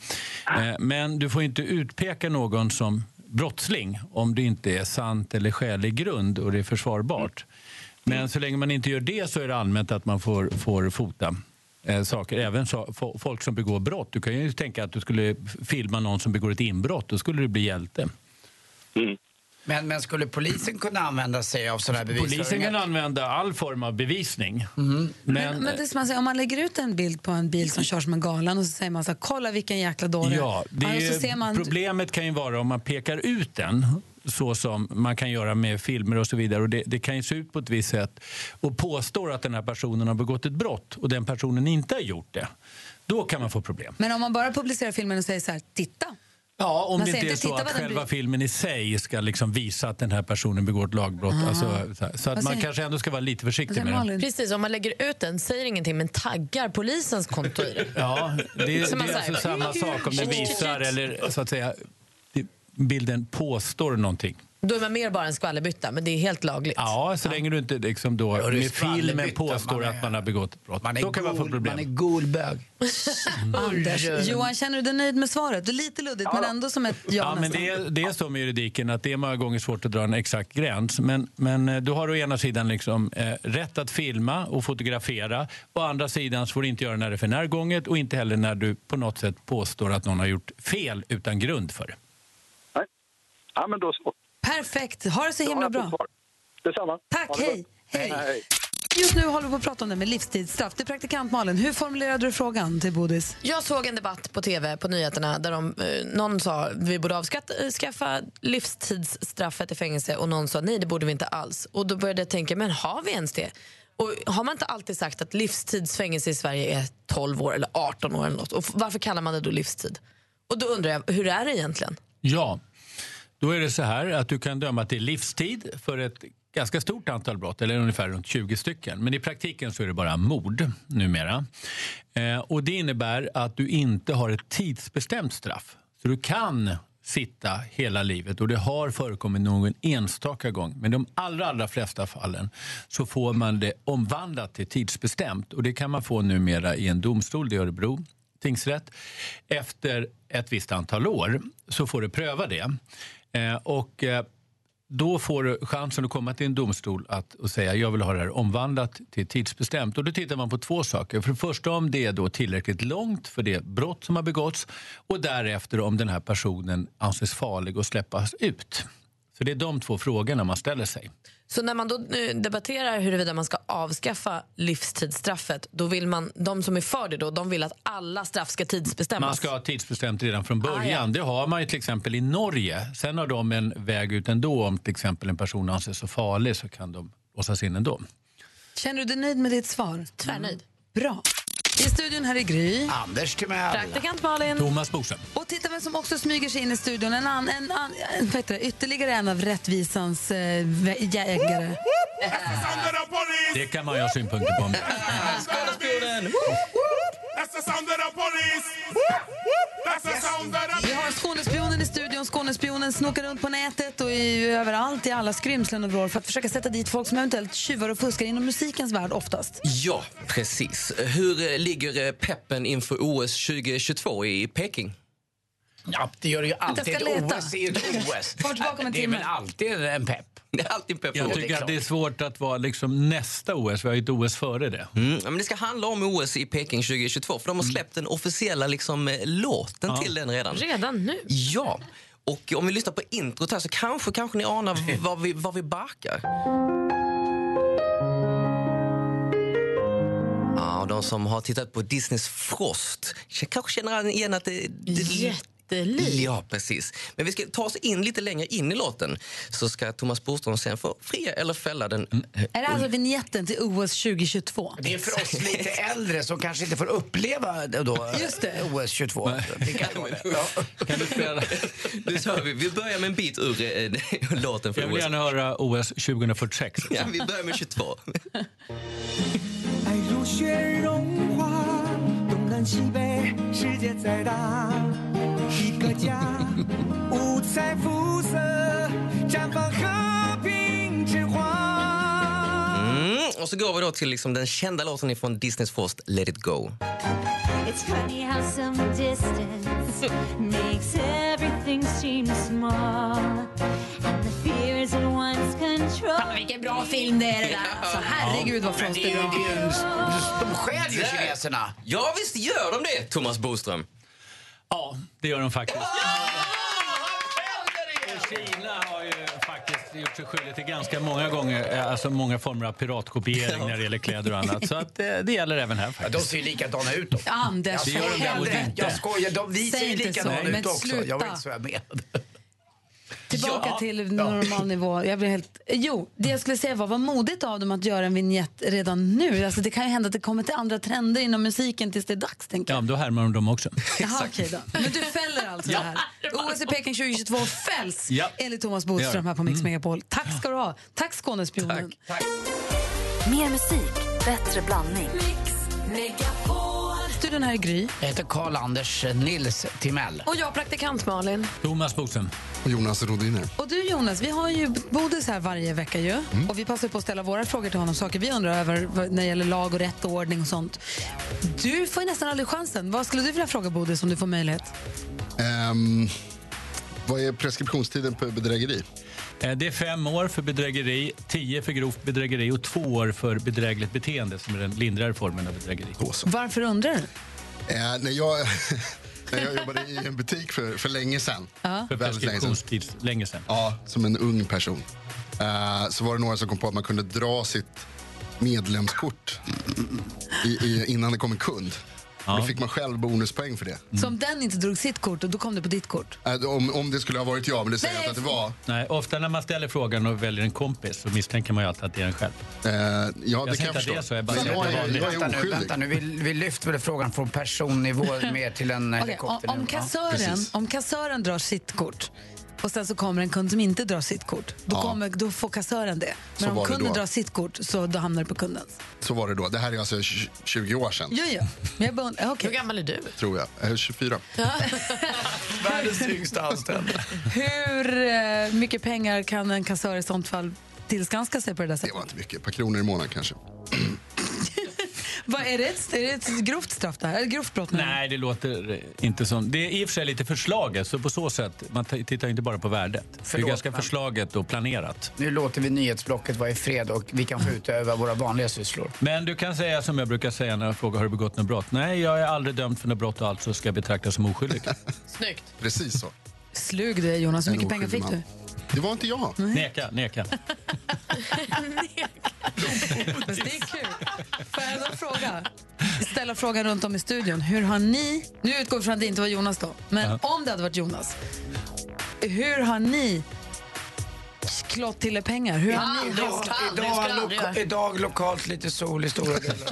Eh, men du får ju inte utpeka någon som brottsling om det inte är sant eller skälig grund och det är försvarbart. Men så länge man inte gör det så är det allmänt att man får, får fota eh, saker. Även så, fo- folk som begår brott. Du kan ju tänka att du skulle filma någon som begår ett inbrott. Då skulle du bli hjälte. Men, men skulle polisen kunna använda sig av sådana här bevisföringar? Polisen kan använda all form av bevisning. Men, Mm-hmm. Men det är som man säger, om man lägger ut en bild på en bil som kör som en galen och så säger man så här, kolla vilken jäkla dåre. ja, det är och ju, så ser man, problemet kan ju vara om man pekar ut den så som man kan göra med filmer och så vidare. Och det, det kan ju se ut på ett visst sätt och påstår att den här personen har begått ett brott och den personen inte har gjort det. Då kan man få problem. Men om man bara publicerar filmen och säger så här, titta. Ja, Om man det säger inte är så "Titta att vad den själva blir." filmen i sig ska liksom visa att den här personen begår ett lagbrott. Ah. Alltså, så här. så att Vad man säger- kanske ändå ska vara lite försiktig med det. Precis, om man lägger ut den, säger ingenting men taggar polisens konto i det. *laughs* Ja, det, det Så man är säger, alltså samma "Mm, sak om den shit, shit, visar shit." eller så att säga det, bilden påstår någonting. Då är man mer bara en skvallerbytta, men det är helt lagligt. Ja, så länge du inte liksom då det är med filmen skvallerbytta, påstår man är- att man har begått ett brott. man är då kan man få gol- problem. man är golbög. Mm. Anders, Johan, känner du dig nöjd med svaret? Det är lite luddigt, men ändå som ett ja, Ja, men nästan. det, är, det är så med juridiken att det är många gånger svårt att dra en exakt gräns. Men, men eh, du har å ena sidan liksom, eh, rätt att filma och fotografera. Å andra sidan så får du inte göra när det är för närgånget och inte heller när du på något sätt påstår att någon har gjort fel utan grund för det. Ja, men då så. Perfekt, ha det så himla bra. Detsamma. Tack, Ha det hej. bra. Hej. Just nu håller vi på att prata om det med livstidsstraff. Det är praktikant Malin, hur formulerade du frågan till Bodis? Jag såg en debatt på tv på nyheterna där de, eh, någon sa vi borde avskaffa livstidsstraffet i fängelse och någon sa nej det borde vi inte alls. Och då började jag tänka, men har vi ens det? Och har man inte alltid sagt att livstidsfängelse i Sverige är 12 år eller 18 år eller något? Och f- varför kallar man det då livstid? Och då undrar jag, hur är det egentligen? Ja, då är det så här att du kan döma till livstid för ett ganska stort antal brott, eller ungefär runt 20 stycken. Men i praktiken så är det bara mord numera. Eh, och det innebär att du inte har ett tidsbestämt straff. Så du kan sitta hela livet och det har förekommit någon enstaka gång. Men de allra, allra flesta fallen så får man det omvandlat till tidsbestämt och det kan man få numera i en domstol, det är Örebro tingsrätt. Efter ett visst antal år så får du pröva det. Eh, och eh, då får du chansen att komma till en domstol att, och säga jag vill ha det här omvandlat till tidsbestämt. Och då tittar man på två saker. För det första om det är då tillräckligt långt för det brott som har begåtts och därefter om den här personen anses farlig och släppas ut. Så det är de två frågorna man ställer sig. Så när man då eh, debatterar huruvida man ska avskaffa livstidsstraffet, då vill man, de som är för det då, de vill att alla straff ska tidsbestämmas. Man ska ha tidsbestämt redan från början. Ah, ja. Det har man ju till exempel i Norge. Sen har de en väg ut ändå. Om till exempel en person anses så farlig så kan de låsas in ändå. Känner du dig nöjd med ditt svar? Tvärnöjd. Bra. I studion här är Gry. Anders Timell. Praktikant Malin. Thomas Bodström. Och titta vem som också smyger sig in i studion. En an, en an, en, vad heter det, ytterligare en av rättvisans eh, vä- jägare. Det kan man ju ha synpunkter på. om det. Vi har Skånespionen i studion. Skånespionen snokar runt på nätet och är ju överallt i alla skrymslen och vrår för att försöka sätta dit folk som eventuellt tjuvar och fuskar inom musikens värld oftast. Ja, precis. Hur eh, ligger eh, peppen inför OS 2022 i Peking? Ja, det gör det ju alltid. ska leta. OS är ju ett OS. Kom tillbaka om en Det är timme. väl alltid en pepp. Det är alltid pepp. Jag tycker att det är svårt att vara liksom nästa OS. Vi har ju ett OS före det. Mm, ja, men det ska handla om OS i Peking 2022 för de har släppt den officiella liksom, eh, låten till den redan. Redan nu? Ja. Och om vi lyssnar på introt här så kanske, kanske ni anar var vi, var vi barkar. Ja, och de som har tittat på Disneys Frost k- kanske känner igen att det... det Jättelik. Ja, precis. Men vi ska ta oss in lite längre in i låten så ska Thomas Bodström sen få fria eller fälla den. Är det alltså vignetten till OS 2022? Det är för oss lite äldre som kanske inte får uppleva då Just det. OS 22. Det kan vara det. Ja. Nu kör vi. Vi börjar med en bit ur eh, låten för Jag vill OS. gärna höra OS 2046. Ja, vi börjar med 22. 爱如雪融化，东南西北，世界再大，一个家，五彩肤色，绽放和平之花。 Mm, och så går vi då till liksom den kända låten från Disneys Frost, Let it go. It's funny how some distance makes everything seem small. And the fears in one's control. Fan, vilken bra film det är det där. Alltså, herregud vad Men Frost det är är ju, bra. det är ju, en- de skäl ju Där. kineserna. Ja, visst gör de det, Thomas Boström. Ja, det gör de faktiskt. Och Kina har ju faktiskt gjort sig skyldig till ganska många gånger, eh, alltså många former av piratkopiering när det gäller kläder och annat. Så att eh, det gäller även här Ja, de faktiskt. ser ju likadana ut. Då. Anders, jag vad skojar, händer? jag, jag skojar. De, vi Säg ser ju inte likadana så, men ut också. Jag var sluta. inte så jag med. Tillbaka Ja. till normal nivå. Jag blir helt... Jo, det jag skulle säga var vad modigt av dem att göra en vignett redan nu. Alltså, det kan ju hända att det kommer till andra trender inom musiken tills det är dags. Tänker Ja, men då härmar de dem *laughs* också. jag. Jaha, okej då. Men du fäller alltså Ja. det här. OS i Peking 2022 fälls Ja. enligt Thomas Bodström här på Mix Megapol. Tack ska du ha. Tack Skånespionen. Mer musik, bättre blandning. Mix Megapol. Studion här i Gry. Jag heter Karl-Anders Nils Timell. Och jag praktikant Malin. Thomas Bodström. Och Jonas Rodiner. Och du Jonas, vi har ju Bodis här varje vecka ju. Mm. Och vi passar på att ställa våra frågor till honom, saker vi undrar över vad- när det gäller lag och rätt och ordning och sånt. Du får ju nästan aldrig chansen. Vad skulle du vilja fråga Bodis om du får möjlighet? Ehm, vad är preskriptionstiden på bedrägeri? Eh, Det är fem år för bedrägeri, tio för grovt bedrägeri och två år för bedrägligt beteende som är den lindrare formen av bedrägeri. Varför undrar du? Eh, när, jag, *laughs* när jag jobbade i en butik för, för länge sedan. Ja. För preskriptionstid länge sedan. Ja, som en ung person. Eh, så var det några som kom på att man kunde dra sitt medlemskort i, i, innan det kom en kund. Då fick man själv bonuspoäng för det. Så om den inte drog sitt kort och då kom det på ditt kort? Eh, om, om det skulle ha varit jag, men det säger jag inte att det var. Nej, ofta när man ställer frågan och väljer en kompis så misstänker man ju alltid att det är en själv. ja, jag säger inte att det är så, jag bara säger att det är vanligt. vänta nu, vänta nu. Vi, vi lyfter väl frågan från personnivå *laughs* mer till en Okej, helikopter. om, om, kassören, om kassören drar sitt kort och sen så kommer en kund som inte drar sitt kort, då, Ja. kommer, då får kassören det. Så Men om var det kunden då. drar sitt kort så då hamnar det på kundens. Så var det då. Det här är alltså tj- 20 år sedan, Jo, jo. Men jag bara undrar, okay. Hur gammal är du? tror jag. Eh, 24. Världens tyngsta anställd. Hur eh, mycket pengar kan en kassör i sånt fall tillskanska sig på det där sättet? Inte mycket. Ett par kronor i månaden kanske. Vad, är, det ett, är det ett grovt straff det här? Är det grovt brott? menar jag? Nej, det låter inte som... Det är i och för sig lite förslaget, så på så sätt, man t- tittar ju inte bara på värdet. det är Förlåt, ganska men- förslaget och planerat. Nu låter vi nyhetsblocket vara i fred och vi kan få utöva våra vanliga sysslor. Men du kan säga som jag brukar säga när jag frågar har du begått något brott. Nej, jag är aldrig dömd för något brott och alltså ska jag betraktas som *laughs* oskyldig. Snyggt. Precis så. Slug du är, Jonas. Hur En mycket pengar fick oskyldig du? man. Det var inte jag. Neka, neka. Fast det är kul. Får jag då fråga? Ställa frågan runt om i studion. Hur har ni... Nu utgår vi från att det inte var Jonas då, men Ja. om det hade varit Jonas. Hur har ni klått till er pengar? Hur har ni... idag, idag, loka, idag lokalt lite sol i stora delar.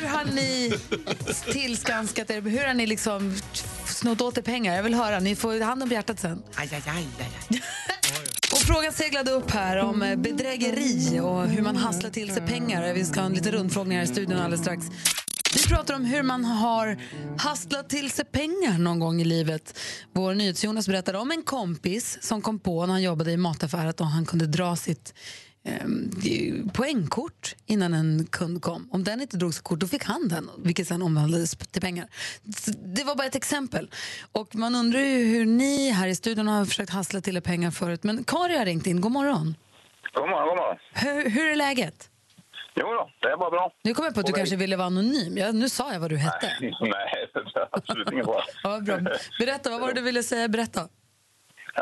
Hur har ni tillskanskat er? Hur har ni liksom snott åt er pengar? Jag vill höra. Ni får hand om hjärtat sen. *laughs* Och frågan seglade upp här om eh, bedrägeri och hur man hasslar till sig pengar. Vi ska ha en liten rundfrågning här i studion alldeles strax. Vi pratar om hur man har hastlat till sig pengar någon gång i livet. Vår NyhetsJonas berättade om en kompis som kom på när han jobbade i mataffär att han kunde dra sitt eh, poängkort innan en kund kom. Om den inte drog sitt kort, då fick han den, vilket sen omvandlades till pengar. Så Det var bara ett exempel. Och man undrar ju hur ni här i studion har försökt hassla till er pengar förut. Men Kari har ringt in. God morgon. God morgon, god morgon. Hur, hur är läget? Jo då, det är bara *laughs* bra. Nu kom jag på att du Och mig. kanske ville vara anonym. Ja, nu sa jag vad du hette. Nej, *laughs* det är absolut inget bra. Ja, bra. Berätta, vad var det du ville säga? Berätta.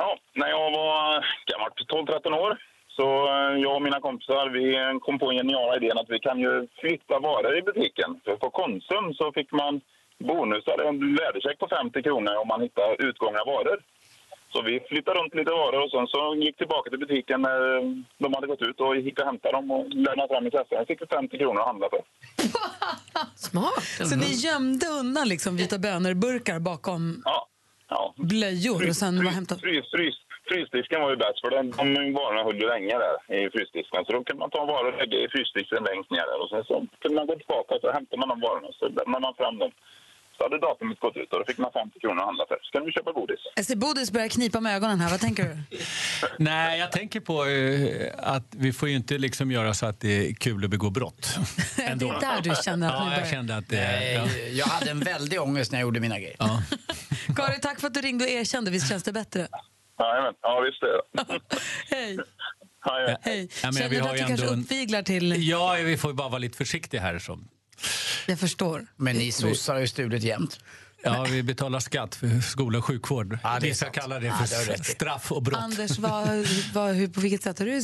Ja, när jag var eh, gammalt, 12-13 år, så eh, jag och mina kompisar vi eh, kom på en geniala idén att vi kan ju flytta varor i butiken. För på Konsum så fick man bonusar, en värdecheck på 50 kronor om man hittar utgångna varor. Så vi flyttade runt lite varor och sen så gick tillbaka till butiken när eh, de hade gått ut och gick och hämtade dem och lämnade fram i kassan. Jag fick vi 50 kronor att handla för. Smart. Så Mm. ni gömde undan liksom vita bönor-burkar bakom blöjor och sen var hämtat... Frys, frys, frysdisken var ju bäst, för de, de varorna höll ju länge där i frysdisken. Så då kunde man ta en vara och lägga i frysdisken längst ner där. Och sen så kunde man gå tillbaka och så hämtade man de varorna och så lämnade man fram dem. Så hade datumet gått ut och då fick man 50 kronor att handla för. Så kunde vi köpa godis. Jag ser Bodis börjar knipa med ögonen här. Vad tänker du? Nej, jag tänker på eh, att vi får ju inte liksom göra så att det är kul att begå *laughs* brott. Ändå. Det är där du känner att ni ja, jag börjar. kände att det... ja. Nej, Eh, Jag hade en väldig ångest när jag gjorde mina grejer. Kari, tack för att du ringde och erkände. Visst känns det bättre? Jajamän, ja visst är det. *laughs* Hej. Jajamän. Hej. Ja, men Känner vi du har att du ju kanske ändå en- uppviglar till... Ja, vi får ju bara vara lite försiktiga här. Som. Jag förstår. Men ni sossar har ju stulit jämt. Ja, vi betalar skatt för skola och sjukvård. Vissa kallar det Ja, det har för du rätt i. straff och brott. Anders, vad, vad, hur, på vilket sätt har du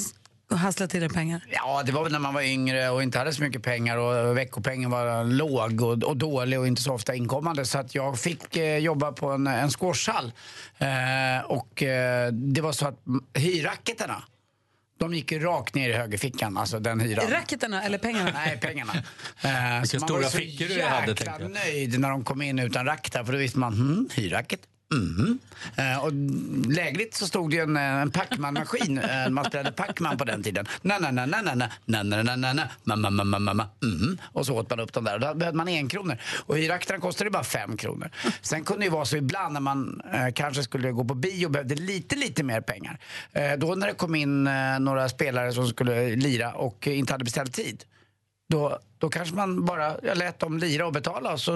hasslat till dig pengar? Ja, det var väl när man var yngre och inte hade så mycket pengar och veckopengen var låg och, och dålig och inte så ofta inkommande. Så att jag fick eh, jobba på en, en squashhall. Eh, och eh, det var så att m- hyrracketerna, de gick ju rakt ner i högerfickan, alltså den hyran. Racketarna eller pengarna? *laughs* Nej, pengarna. Eh, Vilka så stora man var ju så fickor du hade, jäkla tänkte jag. nöjd när de kom in utan racketar för då visste man, hmm, hyrracket. Eh, och lägligt så stod det ju en, eh, *laughs* en Pacman-maskin eh, när man spelade Pacman på den tiden. Na, na, na, na, na, na, na, na, na, na, na, ma, ma, ma, ma, ma, ma, mhm. Och så åt man upp dem där. Och då behövde man en kronor. Och hyraktaren kostade bara fem kronor. Sen kunde det ju vara så ibland när man eh, kanske skulle gå på bio och behövde lite, lite mer pengar. Eh, då när det kom in eh, några spelare som skulle lira och eh, inte hade beställt tid då, då kanske man bara jag lät dem lira och betala. Så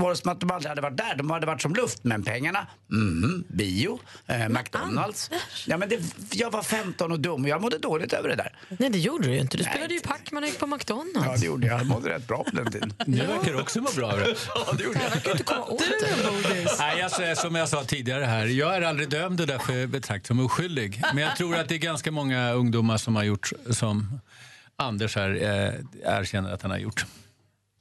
var det som att de aldrig hade varit där. De hade varit som luft. Men pengarna, mhm, bio, eh, McDonalds. Ja, men det, jag var 15 och dum och jag mådde dåligt över det där. Nej, det gjorde du ju inte. Du spelade ju Pacman och gick på McDonalds. Ja, det gjorde jag. Jag mådde rätt bra på den tiden. Du verkar också må bra över det. *laughs* Nej, jag säger som jag sa tidigare här, jag är aldrig dömd och därför betraktad som oskyldig. Men jag tror att det är ganska många ungdomar som har gjort som Anders här eh, erkänner att han har gjort.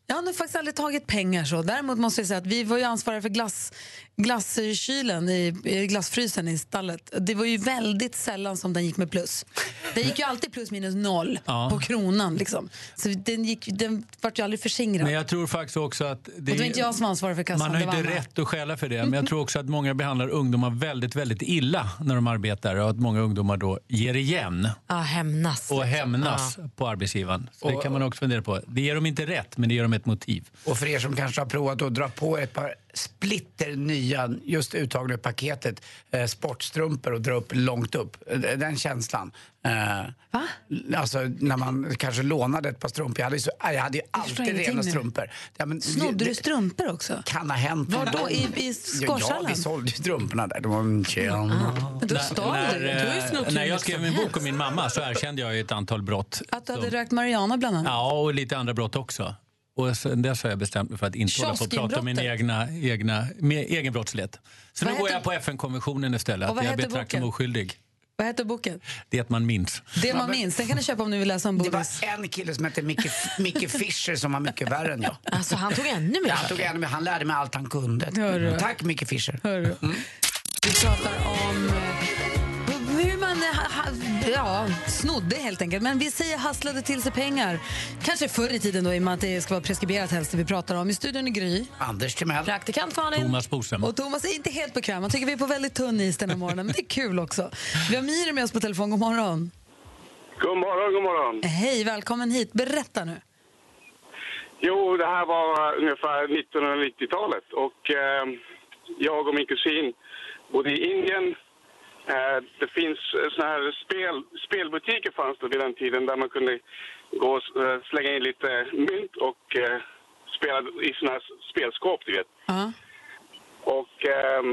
Jag har nog faktiskt aldrig tagit pengar så. Däremot måste jag säga att vi var ju ansvariga för glass, glasskylen, i, i glassfrysen i stallet. Det var ju väldigt sällan som den gick med plus. Den gick ju alltid plus minus noll Ja. på kronan liksom. Så den, gick, den vart ju aldrig försingrad. Men jag tror faktiskt också att... Och det var inte jag som var ansvarig för kassan, Man har det var inte Anna. rätt att skälla för det. Men *laughs* jag tror också att många behandlar ungdomar väldigt, väldigt illa när de arbetar och att många ungdomar då ger igen Ja, hämnas. och hämnas Ja. på arbetsgivaren. Så Och- det kan man också fundera på. Det ger dem inte rätt, men det ger dem ett motiv. Och för er som kanske har provat att dra på ett par splitter nya, just uttagna ur paketet, eh, sportstrumpor och dra upp långt upp. Eh, Den känslan. Eh, Alltså när man kanske lånade ett par strumpor. Jag hade ju, så, jag hade ju förstår alltid ingenting rena nu. strumpor. Ja, men, Snodde du strumpor också? Kan ha hänt. Var då? I, i Ja, skårshallen? vi sålde ju strumporna där. De var en Mm. tjena. Men då stal du. Du har ju snott hur När jag mycket skrev som min helst. bok om min mamma så erkände jag ju ett antal brott. Att du hade rökt marijuana bland annat? Ja, och lite andra brott också. Och sen dess har jag bestämt mig för att inte hålla på och prata om min egna, egna, min egen brottslighet. Så Vad nu går heter- jag på FN-konventionen istället. Och vad Att jag heter betraktas som boken? oskyldig. Vad heter boken? Det att man minns. Det man minns. Den kan ni köpa om ni vill läsa om Det var Bodis. en kille som hette Micke, Micke Fischer som var mycket värre än jag. Alltså han tog ännu mer. Han, tog ännu mer. han lärde mig allt han kunde. Hörru. Tack Micke Fischer. Mm. Vi pratar om eh, hur man eh, ha, ha, ja, snodde helt enkelt. Men vi säger hasslade till sig pengar. Kanske förr i tiden då, i och med att det ska vara preskriberat helst det vi pratar om. I studion i Gry. Anders Timell. Praktikant Malin. Thomas Bodström. Och Thomas är inte helt bekväm. Han tycker vi är på väldigt tunn is den här morgonen. Men det är kul också. Vi har Miri med oss på telefon. God morgon. God morgon, god morgon. Hej, välkommen hit. Berätta nu. Jo, det här var ungefär 1990-talet och eh, jag och min kusin bodde i Indien. Eh, det finns eh, såna här spel, spelbutiker fanns det vid den tiden där man kunde gå och eh, slänga in lite mynt och eh, spela i såna här spelskåp, du vet. Och ehm,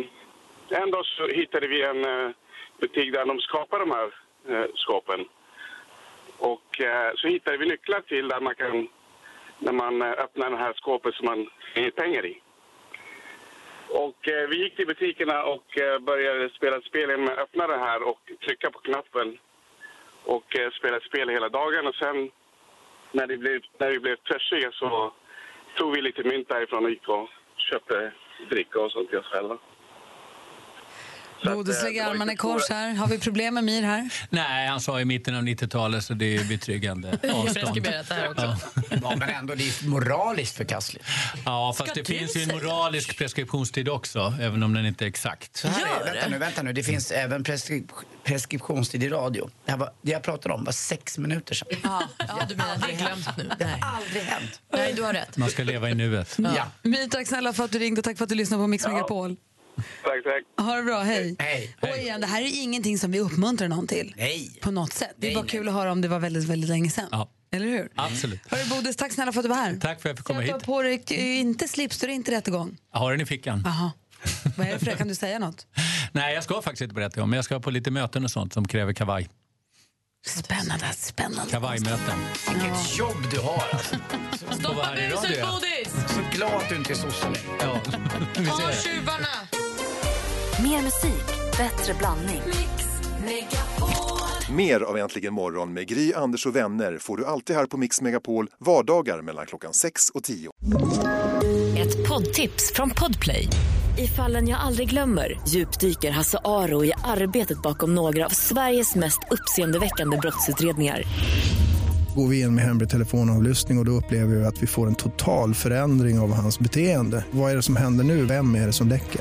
en dag så hittade vi en eh, butik där de skapar de här eh, skåpen. Och eh, så hittade vi nycklar till där man kan, när man eh, öppnar det här skåpet som man har pengar i. Och eh, vi gick till butikerna och eh, började spela ett spel genom att öppna det här och trycka på knappen. Och eh, spela ett spel hela dagen och sen när, det blev, när vi blev törstiga så tog vi lite mynt därifrån och gick och köpte dricka och sånt till oss själva. Bodis lägger armarna i kors här. Har vi problem med Mir här? Nej, han sa i mitten av 90-talet så det är betryggande *laughs* Jag har avstånd. preskriberat det här också. Ja. Ja, men ändå, det är moraliskt förkastligt. Ja, fast det finns ju en moralisk preskriptionstid också, även om den inte är exakt. Så här är, vänta nu, vänta nu. Det finns även preskri- preskriptionstid i radio. Det, här var, det jag pratade om var sex minuter sedan. Ja, du menar det är glömt nu. Det har aldrig hänt. Nej, du har rätt. Man ska leva i nuet. Ja. My, tack snälla för att du ringde och tack för att du lyssnade på Mix Megapol. Tack, tack. Ha det bra, hej. Och igen, det här är ingenting som vi uppmuntrar någon till. Nej. På något sätt. Det är bara kul att höra om det var väldigt, väldigt länge sedan. Ja. Eller hur? Absolut. Hörru Bodis, tack snälla för att du var här. Tack för att jag fick komma Du hit. har på dig eh, inte slips, du är inte rättegång. Jag har den i fickan. Jaha. Vad är det för det? Kan du säga något? Nej, jag ska faktiskt inte berätta om, men jag ska på lite möten och sånt som kräver kavaj. Spännande, spännande. Kavajmöten. Vilket jobb du har alltså. Stoppa buset, Bodis! Så glad att du inte är sosse längre. Ja. *laughs* Ta tjuvarna! Mer musik, bättre blandning. Mer av Äntligen morgon med Gry, Anders och vänner får du alltid här på Mix Megapol vardagar mellan klockan 6 och 10. Ett poddtips från Podplay. I fallen jag aldrig glömmer djupdyker Hasse Aro i arbetet bakom några av Sveriges mest uppseendeväckande brottsutredningar. Går vi in med hemlig telefonavlyssning och, och då upplever vi att vi får en total förändring av hans beteende. Vad är det som händer nu? Vem är det som läcker?